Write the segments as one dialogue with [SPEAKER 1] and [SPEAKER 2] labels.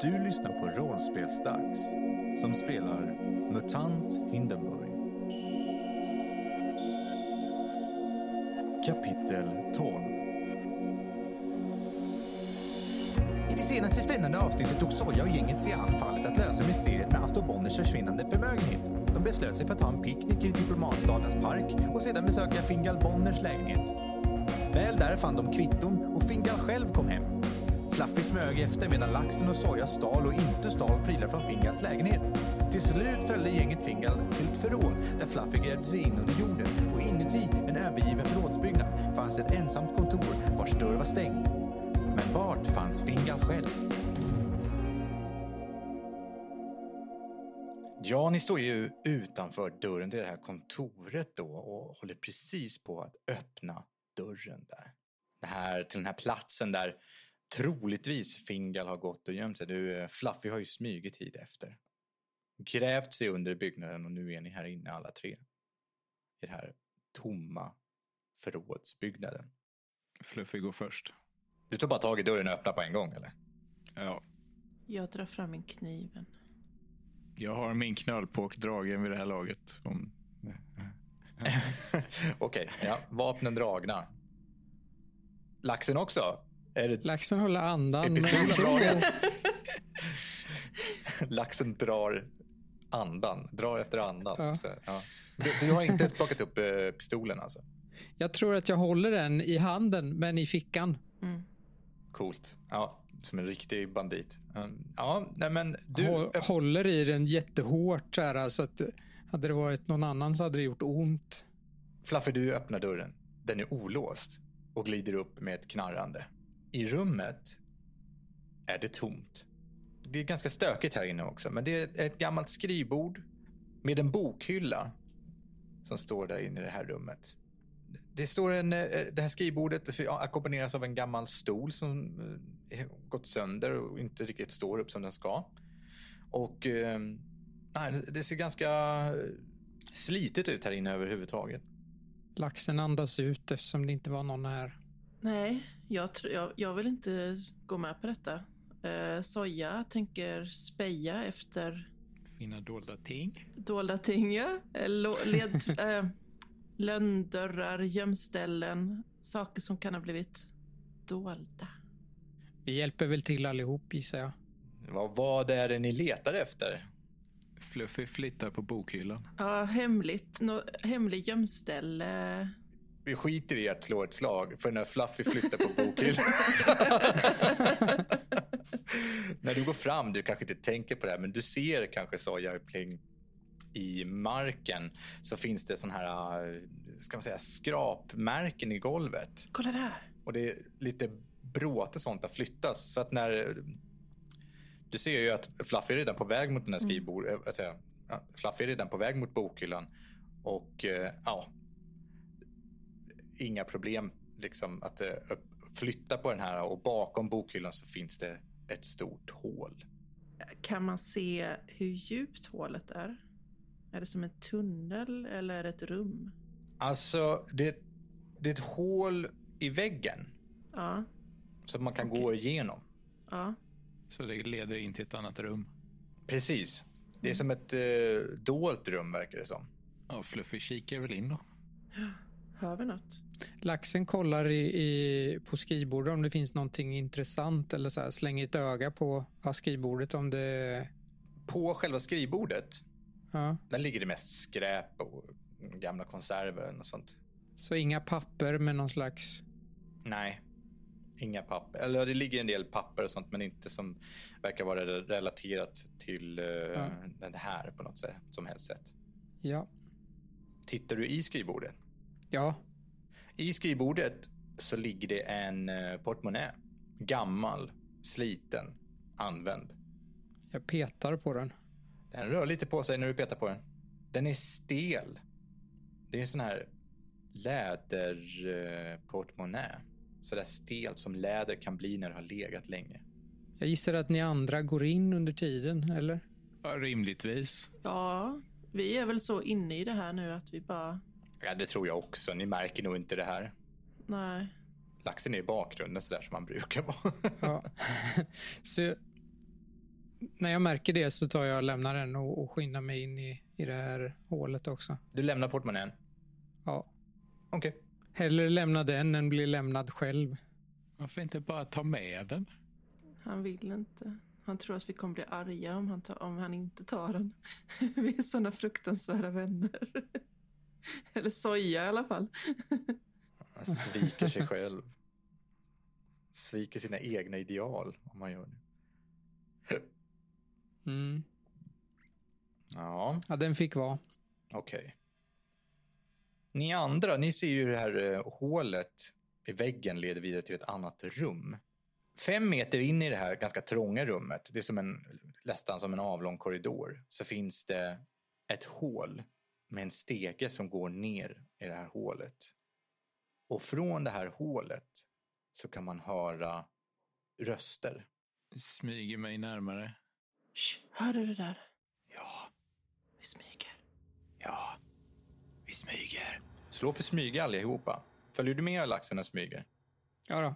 [SPEAKER 1] Du lyssnar på Rollspelsdags som spelar MUTANT Hindenburg. Kapitel 12
[SPEAKER 2] I det senaste spännande avsnittet tog Soja och gänget sig an fallet att lösa mysteriet med Astor Bonners försvinnande förmögenhet. De beslöt sig för att ta en picknick i diplomatstadens park och sedan besöka Fingal Bonners lägenhet. Väl där fann de kvitton och Fingal själv kom hem. Fluffy smög efter medan laxen och Soja stal och inte stal prylar från Fingals lägenhet. Till slut följde gänget Fingal till ett förråd där Fluffy grävde sig in under jorden och inuti en övergiven förrådsbyggnad fanns ett ensamt kontor vars dörr var stängd. Men vart fanns Fingal själv?
[SPEAKER 1] Ja, ni står ju utanför dörren till det här kontoret då och håller precis på att öppna dörren där. Det här, till den här platsen där troligtvis Fingal har gått och gömt sig. Du, eh, Fluffy har ju smugit hit efter. Grävt sig under byggnaden och nu är ni här inne alla tre. I den här tomma förrådsbyggnaden.
[SPEAKER 3] Fluffy går först.
[SPEAKER 1] Du tar bara tag i dörren och öppnar på en gång eller?
[SPEAKER 3] Ja,
[SPEAKER 4] Jag drar fram min kniven.
[SPEAKER 3] jag har min knölpåk dragen vid det här laget. Om...
[SPEAKER 1] Okej, ja, vapnen dragna. Laxen också? Är det
[SPEAKER 5] Laxen håller andan.
[SPEAKER 1] Är
[SPEAKER 5] men-
[SPEAKER 1] pistolen bra det? Laxen drar andan, drar efter andan.
[SPEAKER 5] Ja.
[SPEAKER 1] Så, ja. du, du har inte plockat upp eh, pistolen alltså?
[SPEAKER 5] Jag tror att jag håller den i handen, men i fickan.
[SPEAKER 1] Coolt. Ja, som en riktig bandit. Mm, Ja, nej men du...
[SPEAKER 5] Hå- håller i den jättehårt. Så här, så att, eh, hade det varit någon annan så hade det gjort ont.
[SPEAKER 1] Fluffy, du öppnar dörren. Den är olåst och glider upp med ett knarrande. I rummet är det tomt. Det är ganska stökigt här inne också, men det är ett gammalt skrivbord med en bokhylla som står där inne i det här rummet. Det står en, eh, det här skrivbordet ackompanjeras av en gammal stol som eh, gått sönder och inte riktigt står upp som den ska. Och eh, nej, det ser ganska eh, slitet ut här inne överhuvudtaget.
[SPEAKER 5] Laxen andas ut eftersom det inte var någon här.
[SPEAKER 4] Nej, jag, tr- jag, jag vill inte gå med på detta. Eh, soja tänker speja efter
[SPEAKER 3] Finna dolda ting.
[SPEAKER 4] dolda ting, ja. Eh, lo- led, eh, lönndörrar, gömställen, saker som kan ha blivit dolda.
[SPEAKER 5] Vi hjälper väl till allihop gissar jag.
[SPEAKER 1] Vad, vad är det ni letar efter?
[SPEAKER 3] Fluffy flyttar på bokhyllan.
[SPEAKER 4] Ja, hemligt. No, hemlig gömställe.
[SPEAKER 1] Vi skiter i att slå ett slag för när Fluffy flyttar på bokhyllan. när du går fram, du kanske inte tänker på det här, men du ser kanske Soja Pling i marken så finns det sån här, eh, ska man säga, skrapmärken i golvet.
[SPEAKER 4] Kolla där!
[SPEAKER 1] Och det är lite bråte sånt har flyttas. Så att när... Du ser ju att Fluffy är redan på väg mot den här skrivbord... Mm. Alltså, ja, Fluffy är redan på väg mot bokhyllan. Och eh, ja... Inga problem liksom att eh, upp- flytta på den här. Och bakom bokhyllan så finns det ett stort hål.
[SPEAKER 4] Kan man se hur djupt hålet är? Är det som en tunnel eller är det ett rum?
[SPEAKER 1] Alltså, det, det är ett hål i väggen.
[SPEAKER 4] Ja,
[SPEAKER 1] Som man kan gå igenom.
[SPEAKER 4] ja.
[SPEAKER 3] Så det leder in till ett annat rum.
[SPEAKER 1] Precis. Det är som ett eh, dolt rum verkar det som.
[SPEAKER 3] Ja, Fluffy kikar väl in då.
[SPEAKER 4] Hör vi något?
[SPEAKER 5] Laxen kollar i, i, på skrivbordet om det finns någonting intressant eller så här, slänger ett öga på ja, skrivbordet om det...
[SPEAKER 1] På själva skrivbordet
[SPEAKER 5] Ja.
[SPEAKER 1] Där ligger det mest skräp och gamla konserver och sånt.
[SPEAKER 5] Så inga papper med någon slags...
[SPEAKER 1] Nej, inga papper. Eller det ligger en del papper och sånt, men inte som verkar vara re- relaterat till eh, den här på något sätt, som helst sätt.
[SPEAKER 5] Ja.
[SPEAKER 1] Tittar du i skrivbordet?
[SPEAKER 5] Ja.
[SPEAKER 1] I skrivbordet så ligger det en eh, portmonnä. Gammal, sliten, använd.
[SPEAKER 5] Jag petar på den.
[SPEAKER 1] Den rör lite på sig när du petar på den. Den är stel. Det är en sån här läderportmonnä. Sådär stel som läder kan bli när det har legat länge.
[SPEAKER 5] Jag gissar att ni andra går in under tiden, eller?
[SPEAKER 3] Ja, rimligtvis.
[SPEAKER 4] Ja, vi är väl så inne i det här nu att vi bara...
[SPEAKER 1] Ja, det tror jag också. Ni märker nog inte det här.
[SPEAKER 4] Nej.
[SPEAKER 1] Laxen är i bakgrunden sådär som han brukar vara.
[SPEAKER 5] Ja. så när jag märker det så tar jag och lämnar den och, och skyndar mig in i, i det här hålet också.
[SPEAKER 1] Du lämnar portmonnän.
[SPEAKER 5] Ja.
[SPEAKER 1] Okej.
[SPEAKER 5] Hellre lämna den än bli lämnad själv.
[SPEAKER 3] Varför inte bara ta med den?
[SPEAKER 4] Han vill inte. Han tror att vi kommer bli arga om han, tar, om han inte tar den. vi är såna fruktansvärda vänner. Eller soja i alla fall.
[SPEAKER 1] Han sviker sig själv. Sviker sina egna ideal om man gör det.
[SPEAKER 5] Mm.
[SPEAKER 1] Ja,
[SPEAKER 5] Ja, den fick vara.
[SPEAKER 1] okej. Ni andra, ni ser ju det här eh, hålet i väggen leder vidare till ett annat rum. Fem meter in i det här ganska trånga rummet, det är som en, nästan som en avlång korridor, så finns det ett hål med en stege som går ner i det här hålet. Och från det här hålet så kan man höra röster.
[SPEAKER 3] Smyger mig närmare.
[SPEAKER 4] Shh, hör du det där?
[SPEAKER 3] Ja,
[SPEAKER 4] Vi smyger.
[SPEAKER 3] ja. Vi smyger.
[SPEAKER 1] Slå för smyga allihopa. Följer du med laxen och smyger?
[SPEAKER 5] Ja då,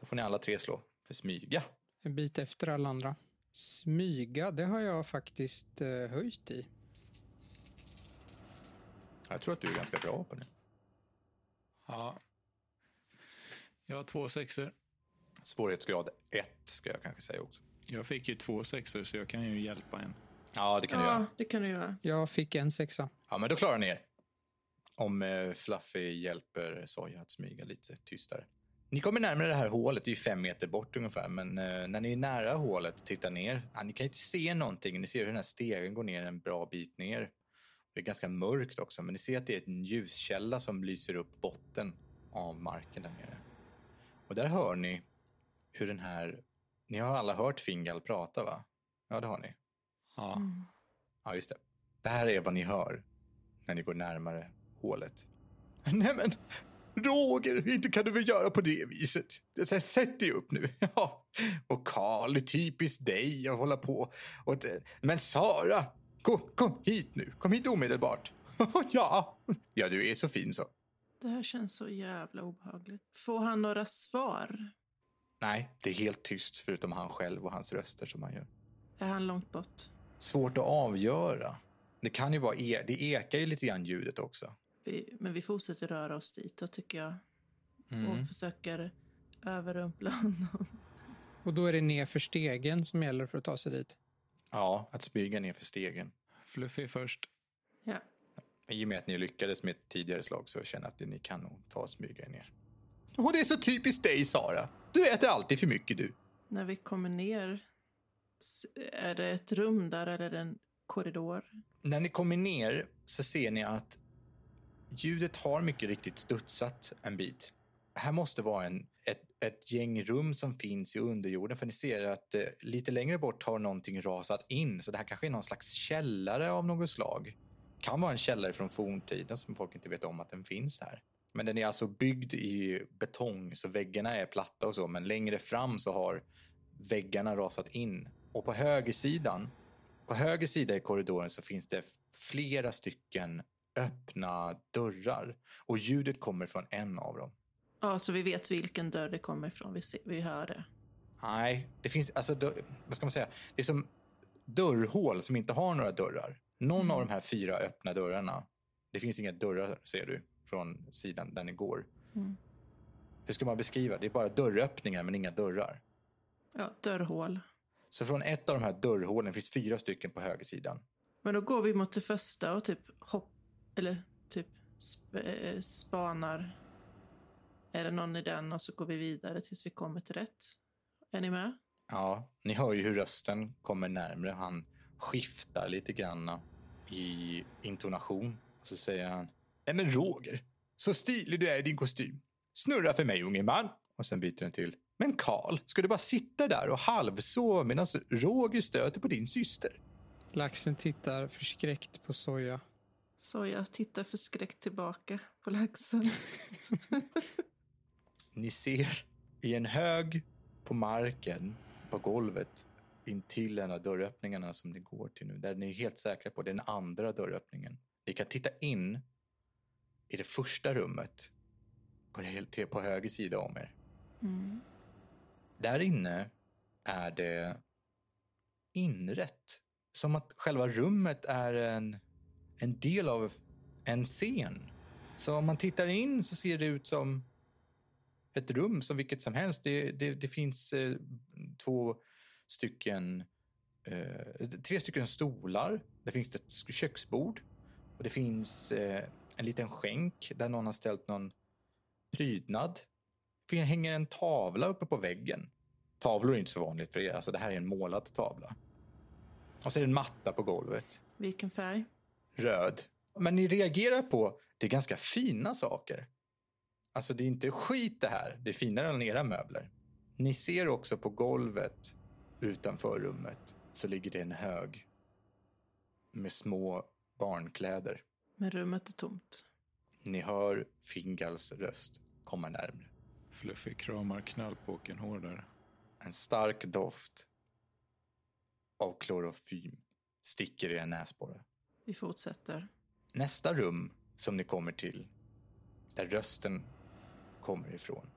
[SPEAKER 1] Då får ni alla tre slå för smyga.
[SPEAKER 5] en bit efter alla andra. Smyga, det har jag faktiskt eh, höjt i.
[SPEAKER 1] Jag tror att du är ganska bra på det.
[SPEAKER 3] Ja. Jag har två sexor.
[SPEAKER 1] Svårighetsgrad 1 ska jag kanske säga också.
[SPEAKER 3] Jag fick ju två sexor så jag kan ju hjälpa en.
[SPEAKER 1] Ja, det kan du
[SPEAKER 4] Ja,
[SPEAKER 1] göra.
[SPEAKER 4] det kan du göra.
[SPEAKER 5] Jag fick en sexa.
[SPEAKER 1] Ja, men då klarar ni er. Om eh, Fluffy hjälper Soja att smyga lite tystare. Ni kommer närmare det här hålet, det är ju fem meter bort ungefär. Men eh, när ni är nära hålet och tittar ner, ja, ni kan inte se någonting. Ni ser hur den här stegen går ner en bra bit ner. Det är ganska mörkt också, men ni ser att det är en ljuskälla som lyser upp botten av marken där nere. Och där hör ni hur den här... Ni har alla hört Fingal prata, va? Ja, det har ni.
[SPEAKER 3] Ja.
[SPEAKER 1] Ja, just det. Det här är vad ni hör när ni går närmare hålet. Nej men, Roger, inte kan du väl göra på det viset? Det- så här, Sätt dig upp nu. Ja. Och Karl, typiskt dig att hålla på. Och det- men Sara, kom, kom hit nu. Kom hit omedelbart. ja. ja, du är så fin så.
[SPEAKER 4] Det här känns så jävla obehagligt. Får han några svar?
[SPEAKER 1] Nej, det är helt tyst förutom han själv och hans röster som han gör.
[SPEAKER 4] Är han långt bort?
[SPEAKER 1] Svårt att avgöra. Det kan ju vara, e- det ekar ju lite grann ljudet också.
[SPEAKER 4] Vi, men vi fortsätter röra oss dit då, tycker jag.
[SPEAKER 1] Mm.
[SPEAKER 4] Och försöker överrumpla honom.
[SPEAKER 5] Och då är det ner för stegen som gäller för att ta sig dit.
[SPEAKER 1] Ja, att smyga ner för stegen.
[SPEAKER 3] Fluffy först.
[SPEAKER 4] Ja.
[SPEAKER 1] Men I och med att ni lyckades med ett tidigare slag så känner jag att ni kan nog ta och smyga er ner. Och det är så typiskt dig, Sara. Du äter alltid för mycket, du.
[SPEAKER 4] När vi kommer ner, s- är det ett rum där eller är det en korridor?
[SPEAKER 1] När ni kommer ner så ser ni att ljudet har mycket riktigt studsat en bit. Här måste vara en, ett, ett gäng rum som finns i underjorden för ni ser att eh, lite längre bort har någonting rasat in så det här kanske är någon slags källare av något slag. Kan vara en källare från forntiden som folk inte vet om att den finns här. Men den är alltså byggd i betong så väggarna är platta och så men längre fram så har väggarna rasat in. Och på högersidan på höger sida i korridoren så finns det flera stycken öppna dörrar och ljudet kommer från en av dem.
[SPEAKER 4] Ja, så vi vet vilken dörr det kommer ifrån. Vi, ser, vi hör det.
[SPEAKER 1] Nej, det finns, alltså, dö- vad ska man säga? Det är som dörrhål som inte har några dörrar. Någon av de här fyra öppna dörrarna. Det finns inga dörrar, ser du, från sidan där ni går.
[SPEAKER 4] Mm.
[SPEAKER 1] Hur ska man beskriva? Det är bara dörröppningar, men inga dörrar.
[SPEAKER 4] Ja, dörrhål.
[SPEAKER 1] Så från ett av de här dörrhålen finns fyra stycken på högersidan.
[SPEAKER 4] Men då går vi mot det första och typ hopp... Eller typ sp eh, spanar. Är det någon i den och så går vi vidare tills vi kommer till rätt. Är ni med?
[SPEAKER 1] Ja, ni hör ju hur rösten kommer närmre. Han skiftar lite grann i intonation. Och så säger han. Nej men Roger, så stilig du är i din kostym. Snurra för mig unge man. Och sen byter den till. Men Karl, ska du bara sitta där och halvsova medan Roger stöter på din syster?
[SPEAKER 5] Laxen tittar förskräckt på soja.
[SPEAKER 4] Så jag tittar förskräckt tillbaka på laxen.
[SPEAKER 1] Ni ser i en hög på marken, på golvet, intill en av dörröppningarna som ni går till nu, där ni är helt säkra på den andra dörröppningen. Ni kan titta in i det första rummet på, helt- till- på höger sida om er.
[SPEAKER 4] Mm.
[SPEAKER 1] Där inne är det inrett. Som att själva rummet är en, en del av en scen. Så om man tittar in så ser det ut som ett rum som vilket som helst. Det, det, det finns eh, två stycken, eh, tre stycken stolar. Det finns ett sk- köksbord. Och det finns eh, en liten skänk där någon har ställt någon prydnad. Det hänger en tavla uppe på väggen. Tavlor är inte så vanligt, för det, alltså, det här är en målad tavla. Och så är det en matta på golvet
[SPEAKER 4] Vilken färg?
[SPEAKER 1] röd. Men ni reagerar på, det är ganska fina saker. Alltså det är inte skit det här, det är finare än era möbler. Ni ser också på golvet utanför rummet så ligger det en hög med små barnkläder.
[SPEAKER 4] Men rummet är tomt.
[SPEAKER 1] Ni hör Fingals röst komma närmre.
[SPEAKER 3] Fluffy kramar knallpåken hårdare.
[SPEAKER 1] En stark doft av klorofym sticker i era näsborrar.
[SPEAKER 4] Vi fortsätter.
[SPEAKER 1] Nästa rum som ni kommer till, där rösten kommer ifrån,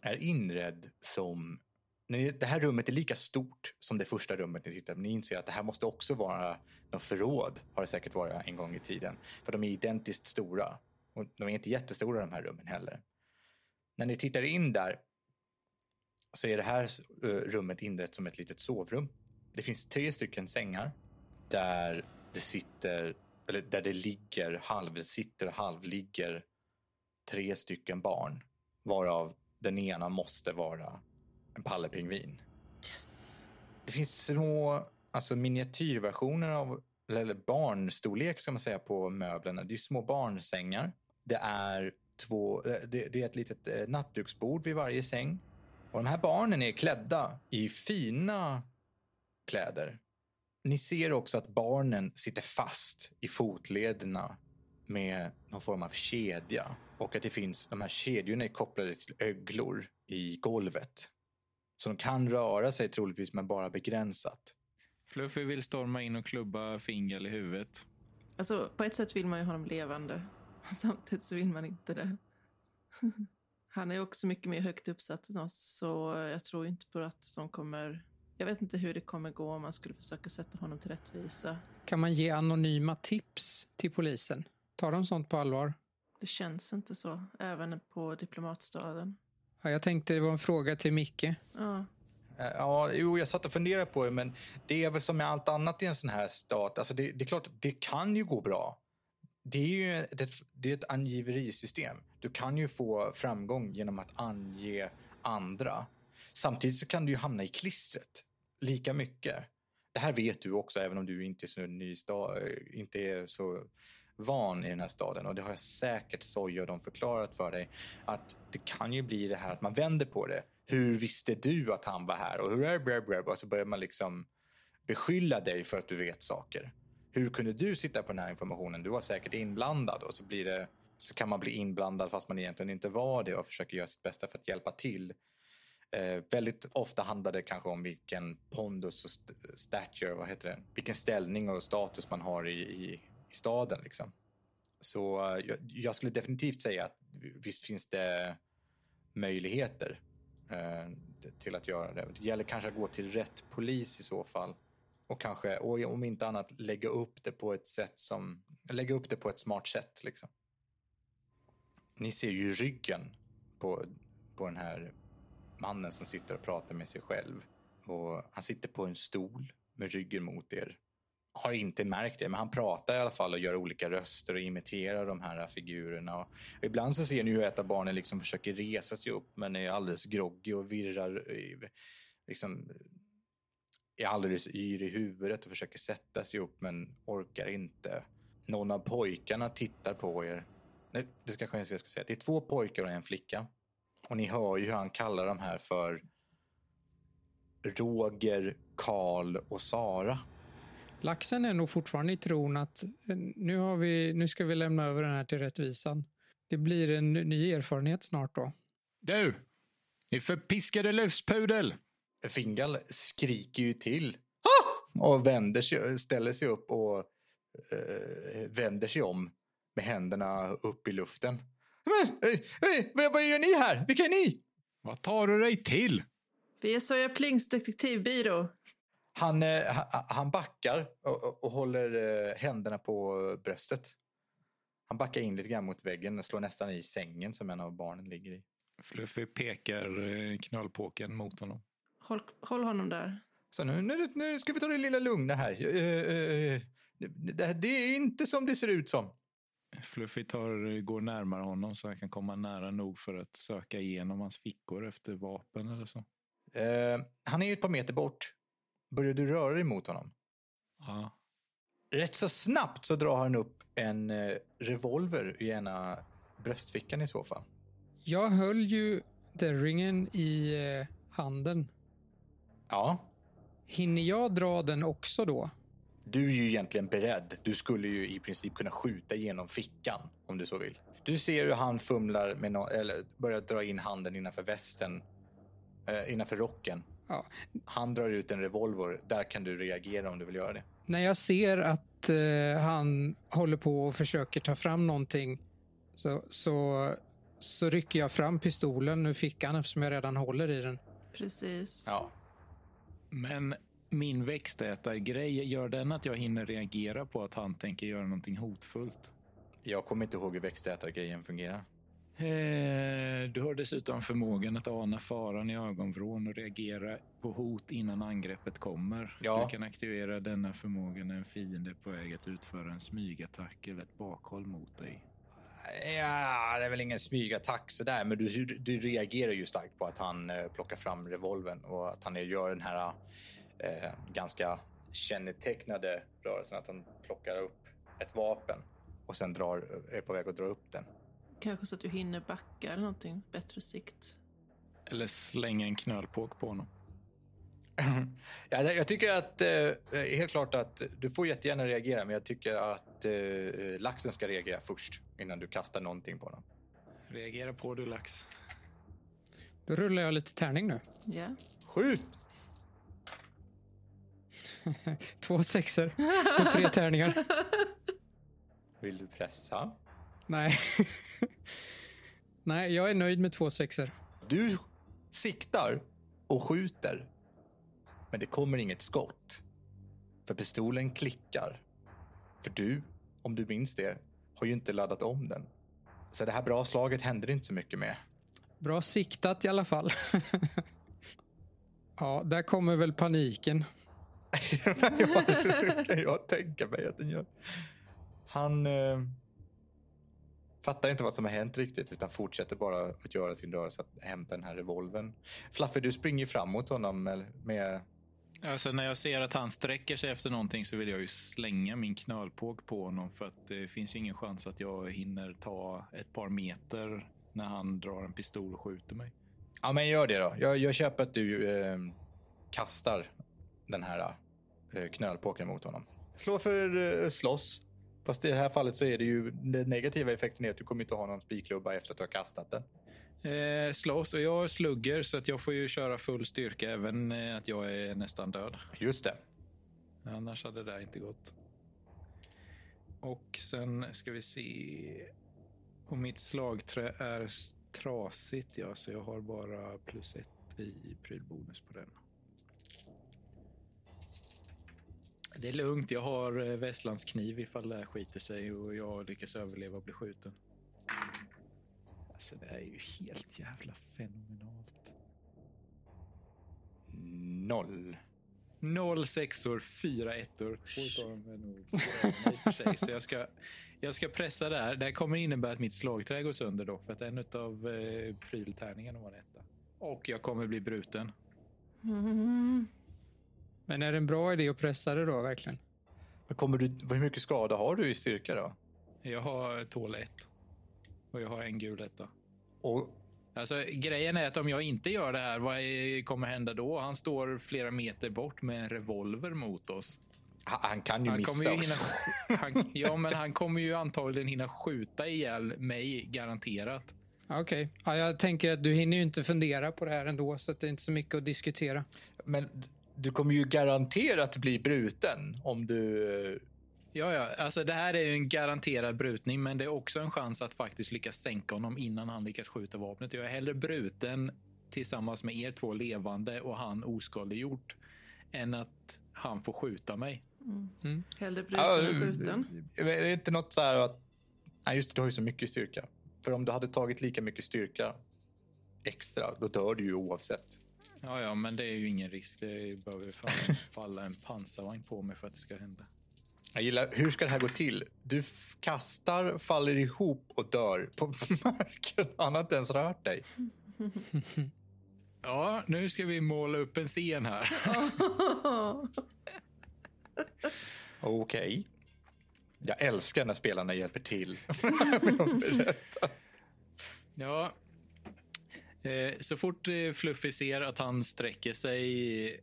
[SPEAKER 1] är inredd som... Nej, Det här rummet är lika stort som det första rummet ni tittar på. Ni inser att det här måste också vara något förråd, har det säkert varit en gång i tiden. För de är identiskt stora. Och de är inte jättestora de här rummen heller. När ni tittar in där så är det här eh, rummet inrett som ett litet sovrum. Det finns tre stycken sängar där det sitter, eller där det ligger, halvsitter och halvligger tre stycken barn. Varav den ena måste vara en pallepingvin.
[SPEAKER 4] Yes!
[SPEAKER 1] Det finns små alltså miniatyrversioner av, eller barnstorlek ska man säga på möblerna. Det är ju små barnsängar. Det är, två, eh, det, det är ett litet eh, nattduksbord vid varje säng. Och de här barnen är klädda i fina kläder. Ni ser också att barnen sitter fast i fotlederna med någon form av kedja. Och att det finns, de här kedjorna är kopplade till öglor i golvet. Så de kan röra sig troligtvis, men bara begränsat.
[SPEAKER 3] Fluffy vill storma in och klubba Fingal i huvudet.
[SPEAKER 4] Alltså, på ett sätt vill man ju ha dem levande. Samtidigt så vill man inte det. Han är ju också mycket mer högt uppsatt än oss, så jag tror inte på att de kommer... Jag vet inte hur det kommer gå om man skulle försöka sätta honom till rättvisa.
[SPEAKER 5] Kan man ge anonyma tips till polisen? Tar de sånt på allvar?
[SPEAKER 4] Det känns inte så, även på diplomatstaden.
[SPEAKER 5] Ja, jag tänkte det var en fråga till Micke.
[SPEAKER 4] Ja,
[SPEAKER 1] Eh, Ja, jo, jag satt och funderade på det, men det är väl som med allt annat i en sån här stat. Alltså det, det är klart, att det kan ju gå bra. Det är ju ett, det är ett angiverisystem. Du kan ju få framgång genom att ange andra. Samtidigt så kan du ju hamna i klistret lika mycket. Det här vet du också, även om du inte är så, ny sta, eh, inte är så van i den här staden. Och det har jag säkert Soja och de förklarat för dig. Att det kan ju bli det här att man vänder på det. Hur visste du att han var här? Och hur är det? brr, brr? Och så börjar man liksom beskylla dig för att du vet saker. Hur kunde du sitta på den här informationen? Du var säkert inblandad. Och så, blir det, så kan man bli inblandad fast man egentligen inte var det och försöker göra sitt bästa för att hjälpa till. Eh, väldigt ofta handlar det kanske om vilken pondus och st- stature, vad heter det? Vilken ställning och status man har i, i, i staden liksom. Så eh, jag, jag skulle definitivt säga att visst finns det möjligheter eh, t- till att göra det. Det gäller kanske att gå till rätt polis i så fall. Och kanske, och om inte annat, lägga upp det på ett sätt som, lägga upp det på ett smart sätt liksom. Ni ser ju ryggen på, på den här mannen som sitter och pratar med sig själv. Och han sitter på en stol med ryggen mot er. Har inte märkt det, men han pratar i alla fall och gör olika röster och imiterar de här figurerna. Och ibland så ser ni hur ett av barnen liksom försöker resa sig upp men är alldeles groggy och virrar i- liksom är alldeles yr i huvudet och försöker sätta sig upp men orkar inte. Någon av pojkarna tittar på er. Nej, det ska jag kanske jag ska säga. Det är två pojkar och en flicka. Och ni hör ju hur han kallar de här för Roger, Karl och Sara.
[SPEAKER 5] Laxen är nog fortfarande i tron att eh, nu, har vi, nu ska vi lämna över den här till rättvisan. Det blir en ny erfarenhet snart då.
[SPEAKER 3] Du! Ni förpiskade löfspudel!
[SPEAKER 1] Fingal skriker ju till "Ah!" och vänder sig, ställer sig upp och eh, vänder sig om med händerna upp i luften. Men, eh, eh, vad, vad gör ni här? Vilka är ni?
[SPEAKER 3] Vad tar du dig till?
[SPEAKER 4] Vi är Soja Plings detektivbyrå.
[SPEAKER 1] Han, eh, ha- han backar och, och, och håller eh, händerna på bröstet. Han backar in lite grann mot väggen och slår nästan i sängen som en av barnen ligger i.
[SPEAKER 3] Fluffy pekar eh, knölpåken mot honom.
[SPEAKER 4] Håll, håll honom där.
[SPEAKER 1] Så nu, nu, nu ska vi ta det lilla lugna här. Eh, eh, eh, Det, det är inte som det ser ut som.
[SPEAKER 3] Fluffy tar, eh, går närmare honom så han kan komma nära nog för att söka igenom hans fickor efter vapen eller så.
[SPEAKER 1] Eh, han är ju ett par meter bort. Börjar du röra dig mot honom?
[SPEAKER 3] Ja.
[SPEAKER 1] Rätt så snabbt så drar han upp en eh, revolver i ena bröstfickan i så fall.
[SPEAKER 5] Jag höll ju dörringen i eh, handen.
[SPEAKER 1] Ja,
[SPEAKER 5] Hinner jag dra den också då?
[SPEAKER 1] Du är ju egentligen beredd. Du skulle ju i princip kunna skjuta genom fickan om du så vill. Du ser hur han fumlar med nå eller börjar dra in handen innanför västen, eh, innanför rocken.
[SPEAKER 5] Ja.
[SPEAKER 1] Han drar ut en revolver. Där kan du reagera om du vill göra det.
[SPEAKER 5] När jag ser att eh, han håller på och försöker ta fram någonting så, så, så rycker jag fram pistolen ur fickan eftersom jag redan håller i den.
[SPEAKER 4] Precis.
[SPEAKER 1] Ja.
[SPEAKER 3] Men min växtätargrej, gör den att jag hinner reagera på att han tänker göra någonting hotfullt?
[SPEAKER 1] Jag kommer inte ihåg hur växtätargrejen fungerar.
[SPEAKER 3] Eh, Du har dessutom förmågan att ana faran i ögonvrån och reagera på hot innan angreppet kommer.
[SPEAKER 1] Ja.
[SPEAKER 3] Du kan aktivera denna förmåga när en fiende är på väg att utföra en smygattack eller ett bakhåll mot dig.
[SPEAKER 1] Ja, det är väl ingen smygattack sådär, men du, du reagerar ju starkt på att han eh, plockar fram revolven och att han gör den här eh, ganska kännetecknade rörelsen att han plockar upp ett vapen och sen drar, är på väg att dra upp den.
[SPEAKER 4] Kanske så att du hinner backa eller någonting. Bättre sikt.
[SPEAKER 3] Eller slänga en knölpåk på honom.
[SPEAKER 1] Ja, det- jag tycker att eh, helt klart att du får jättegärna reagera, men jag tycker att eh, laxen ska reagera först innan du kastar någonting på honom.
[SPEAKER 3] Reagera på du lax.
[SPEAKER 5] Då rullar jag lite tärning nu.
[SPEAKER 4] Ja.
[SPEAKER 1] Skjut!
[SPEAKER 5] Två sexer på tre tärningar.
[SPEAKER 1] Vill du pressa?
[SPEAKER 5] Nej. Nej, jag är nöjd med två sexer.
[SPEAKER 1] Du siktar och skjuter. Men det kommer inget skott. För pistolen klickar. För du, om du minns det, har ju inte laddat om den. Så det här bra slaget händer det inte så mycket med.
[SPEAKER 5] Bra siktat i alla fall. ja, där kommer väl paniken.
[SPEAKER 1] Ja, det kan jag tänka mig att den gör. Han eh, fattar inte vad som har hänt riktigt utan fortsätter bara att göra sin rörelse att hämta den här revolven. Fluffy, du springer fram mot honom med, med
[SPEAKER 3] Alltså när jag ser att han sträcker sig efter någonting så vill jag ju slänga min knölpåk på honom för att det finns ju ingen chans att jag hinner ta ett par meter när han drar en pistol och skjuter mig.
[SPEAKER 1] Ja, men gör det då. Jag, jag köper att du eh, kastar den här eh, knölpåken mot honom. Slå för eh, slåss. Fast i det här fallet så är det ju den negativa effekten är att du kommer inte ha någon spikklubba efter att du har kastat den.
[SPEAKER 3] Eh, slåss och jag slugger så att jag får ju köra full styrka även eh, att jag är nästan död.
[SPEAKER 1] Just det.
[SPEAKER 3] Annars hade det där inte gått. Och sen ska vi se. Och mitt slagträ är s- trasigt ja, så jag har bara plus ett i prylbonus på den. Det är lugnt, jag har eh, Vesslands kniv ifall det här skiter sig och jag lyckas överleva och bli skjuten. Alltså det här är ju helt jävla fenomenalt.
[SPEAKER 1] Noll.
[SPEAKER 3] Noll sexor, fyra ettor. Två utav dem är nog gröna i och för sig. Så jag ska, jag ska pressa det här. Det här kommer innebära att mitt slagträ går sönder dock. För att en av eh, pryltärningarna var en etta. Och jag kommer bli bruten.
[SPEAKER 4] Mm.
[SPEAKER 5] Men är det en bra idé att pressa det då verkligen?
[SPEAKER 1] Men kommer du, hur mycket skada har du i styrka då?
[SPEAKER 3] Jag har tål ett. Och jag har en gul etta.
[SPEAKER 1] Och
[SPEAKER 3] Alltså, grejen är att om jag inte gör det här, vad är- kommer hända då? Han står flera meter bort med en revolver mot oss.
[SPEAKER 1] han, han kan ju
[SPEAKER 3] Han kommer
[SPEAKER 1] missa
[SPEAKER 3] ju
[SPEAKER 1] också.
[SPEAKER 3] hinna, han, ja, men han kommer ju antagligen hinna skjuta ihjäl mig, garanterat.
[SPEAKER 5] Ja, Okej. Ja, jag tänker att du hinner ju inte fundera på det här ändå, så att det är inte så mycket att diskutera.
[SPEAKER 1] Men d- du kommer ju garanterat bli bruten om du... eh,
[SPEAKER 3] Ja, ja. Alltså, det här är ju en garanterad brutning, men det är också en chans att faktiskt lyckas sänka honom innan han lyckas skjuta vapnet. Jag är hellre bruten tillsammans med er två levande och han oskadliggjort än att han får skjuta mig.
[SPEAKER 4] Hellre bruten än skjuten.
[SPEAKER 1] Är det inte något så här att... Nej, just det, du har ju så mycket styrka. För om du hade tagit lika mycket styrka extra, då dör du ju oavsett.
[SPEAKER 3] Ja, ja, men det är ju ingen risk. Det behöver fan falla en pansarvagn på mig för att det ska hända.
[SPEAKER 1] Jag gillar, hur ska det här gå till? Du f- kastar, faller ihop och dör på marken. Han har inte ens rört dig.
[SPEAKER 3] Ja, nu ska vi måla upp en scen här.
[SPEAKER 1] Okej. Jag älskar när spelarna hjälper till.
[SPEAKER 3] Ja. Eh, Så fort eh, Fluffy ser att han sträcker sig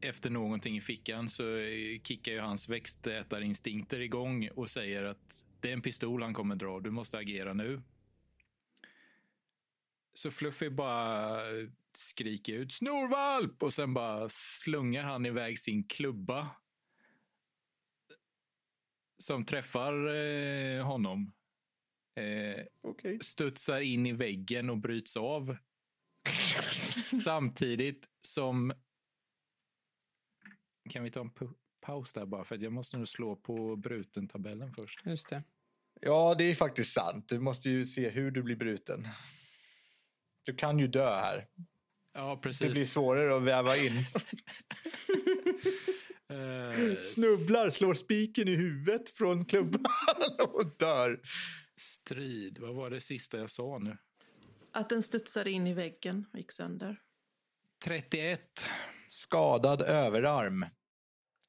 [SPEAKER 3] efter någonting i fickan så eh, kickar ju hans växtätarinstinkter igång och säger att det är en pistol han kommer dra. Du måste agera nu. Så Fluffy bara skriker ut snorvalp och sen bara slungar han iväg sin klubba. Som träffar eh, honom. Eh,
[SPEAKER 1] Okej.
[SPEAKER 3] studsar in i väggen och bryts av. Samtidigt som... Kan vi ta en pu- paus där bara? För att jag måste nog slå på bruten-tabellen först.
[SPEAKER 5] Just det.
[SPEAKER 1] Ja, det är faktiskt sant. Du måste ju se hur du blir bruten. Du kan ju dö här.
[SPEAKER 3] Ja,
[SPEAKER 1] Det blir
[SPEAKER 3] precis.
[SPEAKER 1] svårare att väva in.
[SPEAKER 3] Eh,
[SPEAKER 1] Snubblar, slår spiken i huvudet från klubban och dör.
[SPEAKER 3] strid. Vad var det sista jag sa nu?
[SPEAKER 4] Att den studsade in i väggen och gick sönder.
[SPEAKER 3] 31.
[SPEAKER 1] Skadad överarm.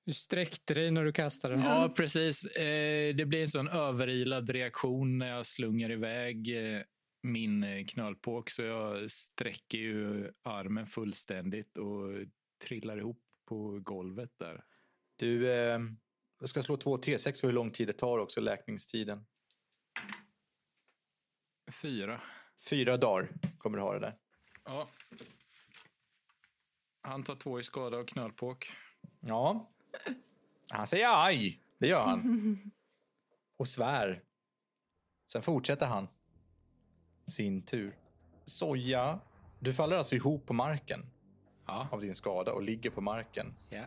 [SPEAKER 5] Du sträckte dig när du kastade den.
[SPEAKER 3] Ja, precis. Eh, Det blir en sån överilad reaktion när jag slungar iväg eh, min eh, knölpåk. Så jag sträcker ju armen fullständigt och trillar ihop på golvet där.
[SPEAKER 1] Du eh, jag ska slå 2 T6 för hur lång tid det tar också, läkningstiden.
[SPEAKER 3] Fyra.
[SPEAKER 1] Fyra dagar kommer du ha det där.
[SPEAKER 3] Ja. Han tar två i skada av knölpåk.
[SPEAKER 1] Ja. Han säger aj. Det gör han. Och svär. Sen fortsätter han. Sin tur. Soja. Du faller alltså ihop på marken
[SPEAKER 3] Ja.
[SPEAKER 1] av din skada och ligger på marken.
[SPEAKER 3] ja.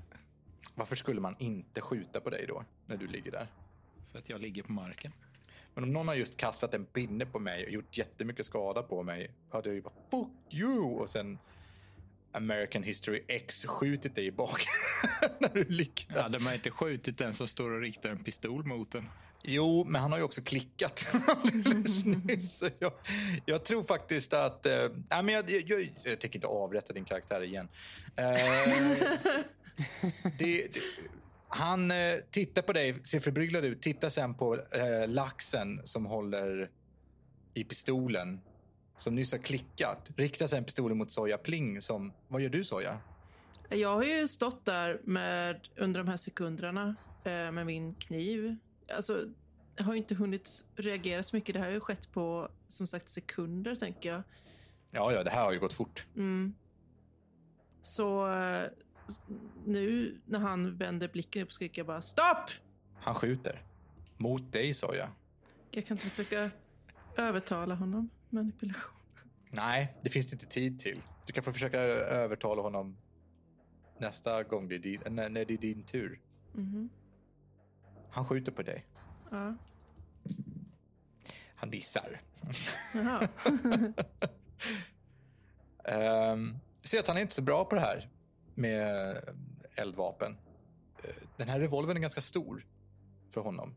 [SPEAKER 1] Varför skulle man inte skjuta på dig då? När du ligger där.
[SPEAKER 3] För att jag ligger på marken.
[SPEAKER 1] Men om någon har just kastat en pinne på mig och gjort jättemycket skada på mig hade jag ju bara “fuck you” och sen American History X skjutit dig i baken när du ligger där.
[SPEAKER 3] Hade man inte skjutit den som står och riktar en pistol mot den.
[SPEAKER 1] Jo, men han har ju också klickat alldeles nyss. Så Jag, jag tror faktiskt att... Eh, nej, men jag, jag, jag, jag tänker inte avrätta din karaktär igen. Eh, det, det, han eh, tittar på dig, ser förbryllad ut, tittar sen på eh, laxen som håller i pistolen som nyss har klickat. Riktar sen pistolen mot Soja Pling som... Vad gör du, Soja?
[SPEAKER 4] Jag har ju stått där med, under de här sekunderna eh, med min kniv. Alltså, jag har ju inte hunnit reagera så mycket. Det här har ju skett på som sagt sekunder, tänker jag.
[SPEAKER 1] Ja, ja, det här har ju gått fort.
[SPEAKER 4] Mm. Så eh, s- nu när han vänder blicken upp skriker jag bara stopp!
[SPEAKER 1] Han skjuter. Mot dig, Soja.
[SPEAKER 4] Jag kan inte försöka övertala honom. Manipulation.
[SPEAKER 1] Nej, det finns det inte tid till. Du kan få försöka ö- övertala honom nästa gång det är din, när, när det är din tur.
[SPEAKER 4] Mhm.
[SPEAKER 1] Han skjuter på dig.
[SPEAKER 4] Ja.
[SPEAKER 1] Han missar.
[SPEAKER 4] Jaha.
[SPEAKER 1] Ehm, du ser att han är inte så bra på det här med eldvapen. Eh, Den här revolvern är ganska stor för honom.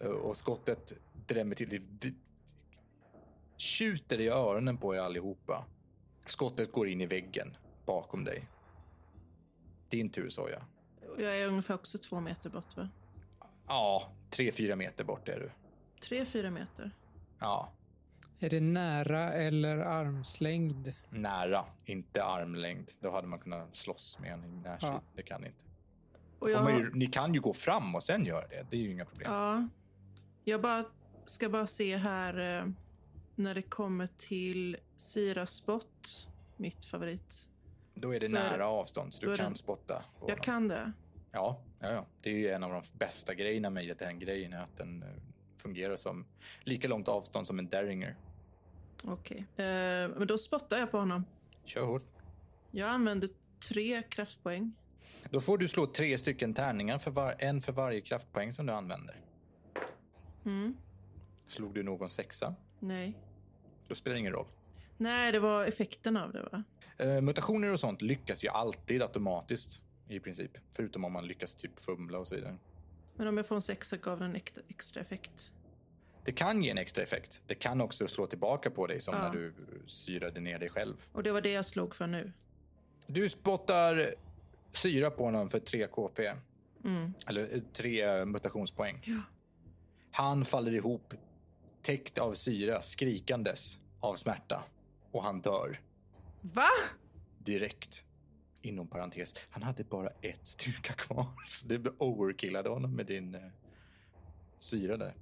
[SPEAKER 1] Eh, Och skottet drämmer till. Det vi- tjuter i öronen på er allihopa. Skottet går in i väggen bakom dig. Din tur, sa jag.
[SPEAKER 4] Och Jag är ungefär också två meter bort, va?
[SPEAKER 1] Ja, tre, fyra meter bort är du.
[SPEAKER 4] Tre, fyra meter.
[SPEAKER 1] Ja,
[SPEAKER 5] Är det nära eller armslängd?
[SPEAKER 1] nära, inte armlängd. Då hade man kunnat slåss med en i närstrid.
[SPEAKER 5] Ja.
[SPEAKER 1] Det kan ni inte.
[SPEAKER 4] Och
[SPEAKER 1] Får
[SPEAKER 4] jag,
[SPEAKER 1] man ju, ni kan ju gå fram och sen göra det. Det är ju inga problem.
[SPEAKER 4] ja, jag bara, ska bara se här eh, när det kommer till syraspott, mitt favorit.
[SPEAKER 1] Då är det
[SPEAKER 4] så är
[SPEAKER 1] nära
[SPEAKER 4] det-
[SPEAKER 1] avstånd, så
[SPEAKER 4] då
[SPEAKER 1] du
[SPEAKER 4] är det-
[SPEAKER 1] kan spotta. på
[SPEAKER 4] Jag
[SPEAKER 1] honom.
[SPEAKER 4] kan det.
[SPEAKER 1] Ja, ja, ja, det är ju en av de bästa grejerna med den grejen. är Att den eh, fungerar som lika långt avstånd som en derringer.
[SPEAKER 4] Okej. Eh, men då spottar jag på honom.
[SPEAKER 1] Kör hårt.
[SPEAKER 4] Jag använder tre kraftpoäng
[SPEAKER 1] Då får du slå tre stycken tärningar, för var, en för varje kraftpoäng som du använder.
[SPEAKER 4] Mm.
[SPEAKER 1] Slog du någon sexa,
[SPEAKER 4] Nej.
[SPEAKER 1] då spelar det ingen roll.
[SPEAKER 4] Nej, det var effekten av det, va?
[SPEAKER 1] Eh, mutationer och sånt lyckas ju alltid automatiskt i princip. Förutom om man lyckas typ fumla och så vidare.
[SPEAKER 4] Men om jag får en sexa gav den extra, extra effekt.
[SPEAKER 1] Det kan ge en extra effekt. Det kan också slå tillbaka på dig som
[SPEAKER 4] Ja.
[SPEAKER 1] när du syrade ner dig själv.
[SPEAKER 4] Och det var det jag slog för nu.
[SPEAKER 1] Du spottar syra på honom för 3 KP. Eller 3 mutationspoäng.
[SPEAKER 4] Mm. Ja.
[SPEAKER 1] Han faller ihop, täckt av syra, skrikandes av smärta. Och han dör
[SPEAKER 4] Va?
[SPEAKER 1] direkt. Inom parentes, han hade bara ett styrka kvar. Så det overkillade honom med din eh, syra där.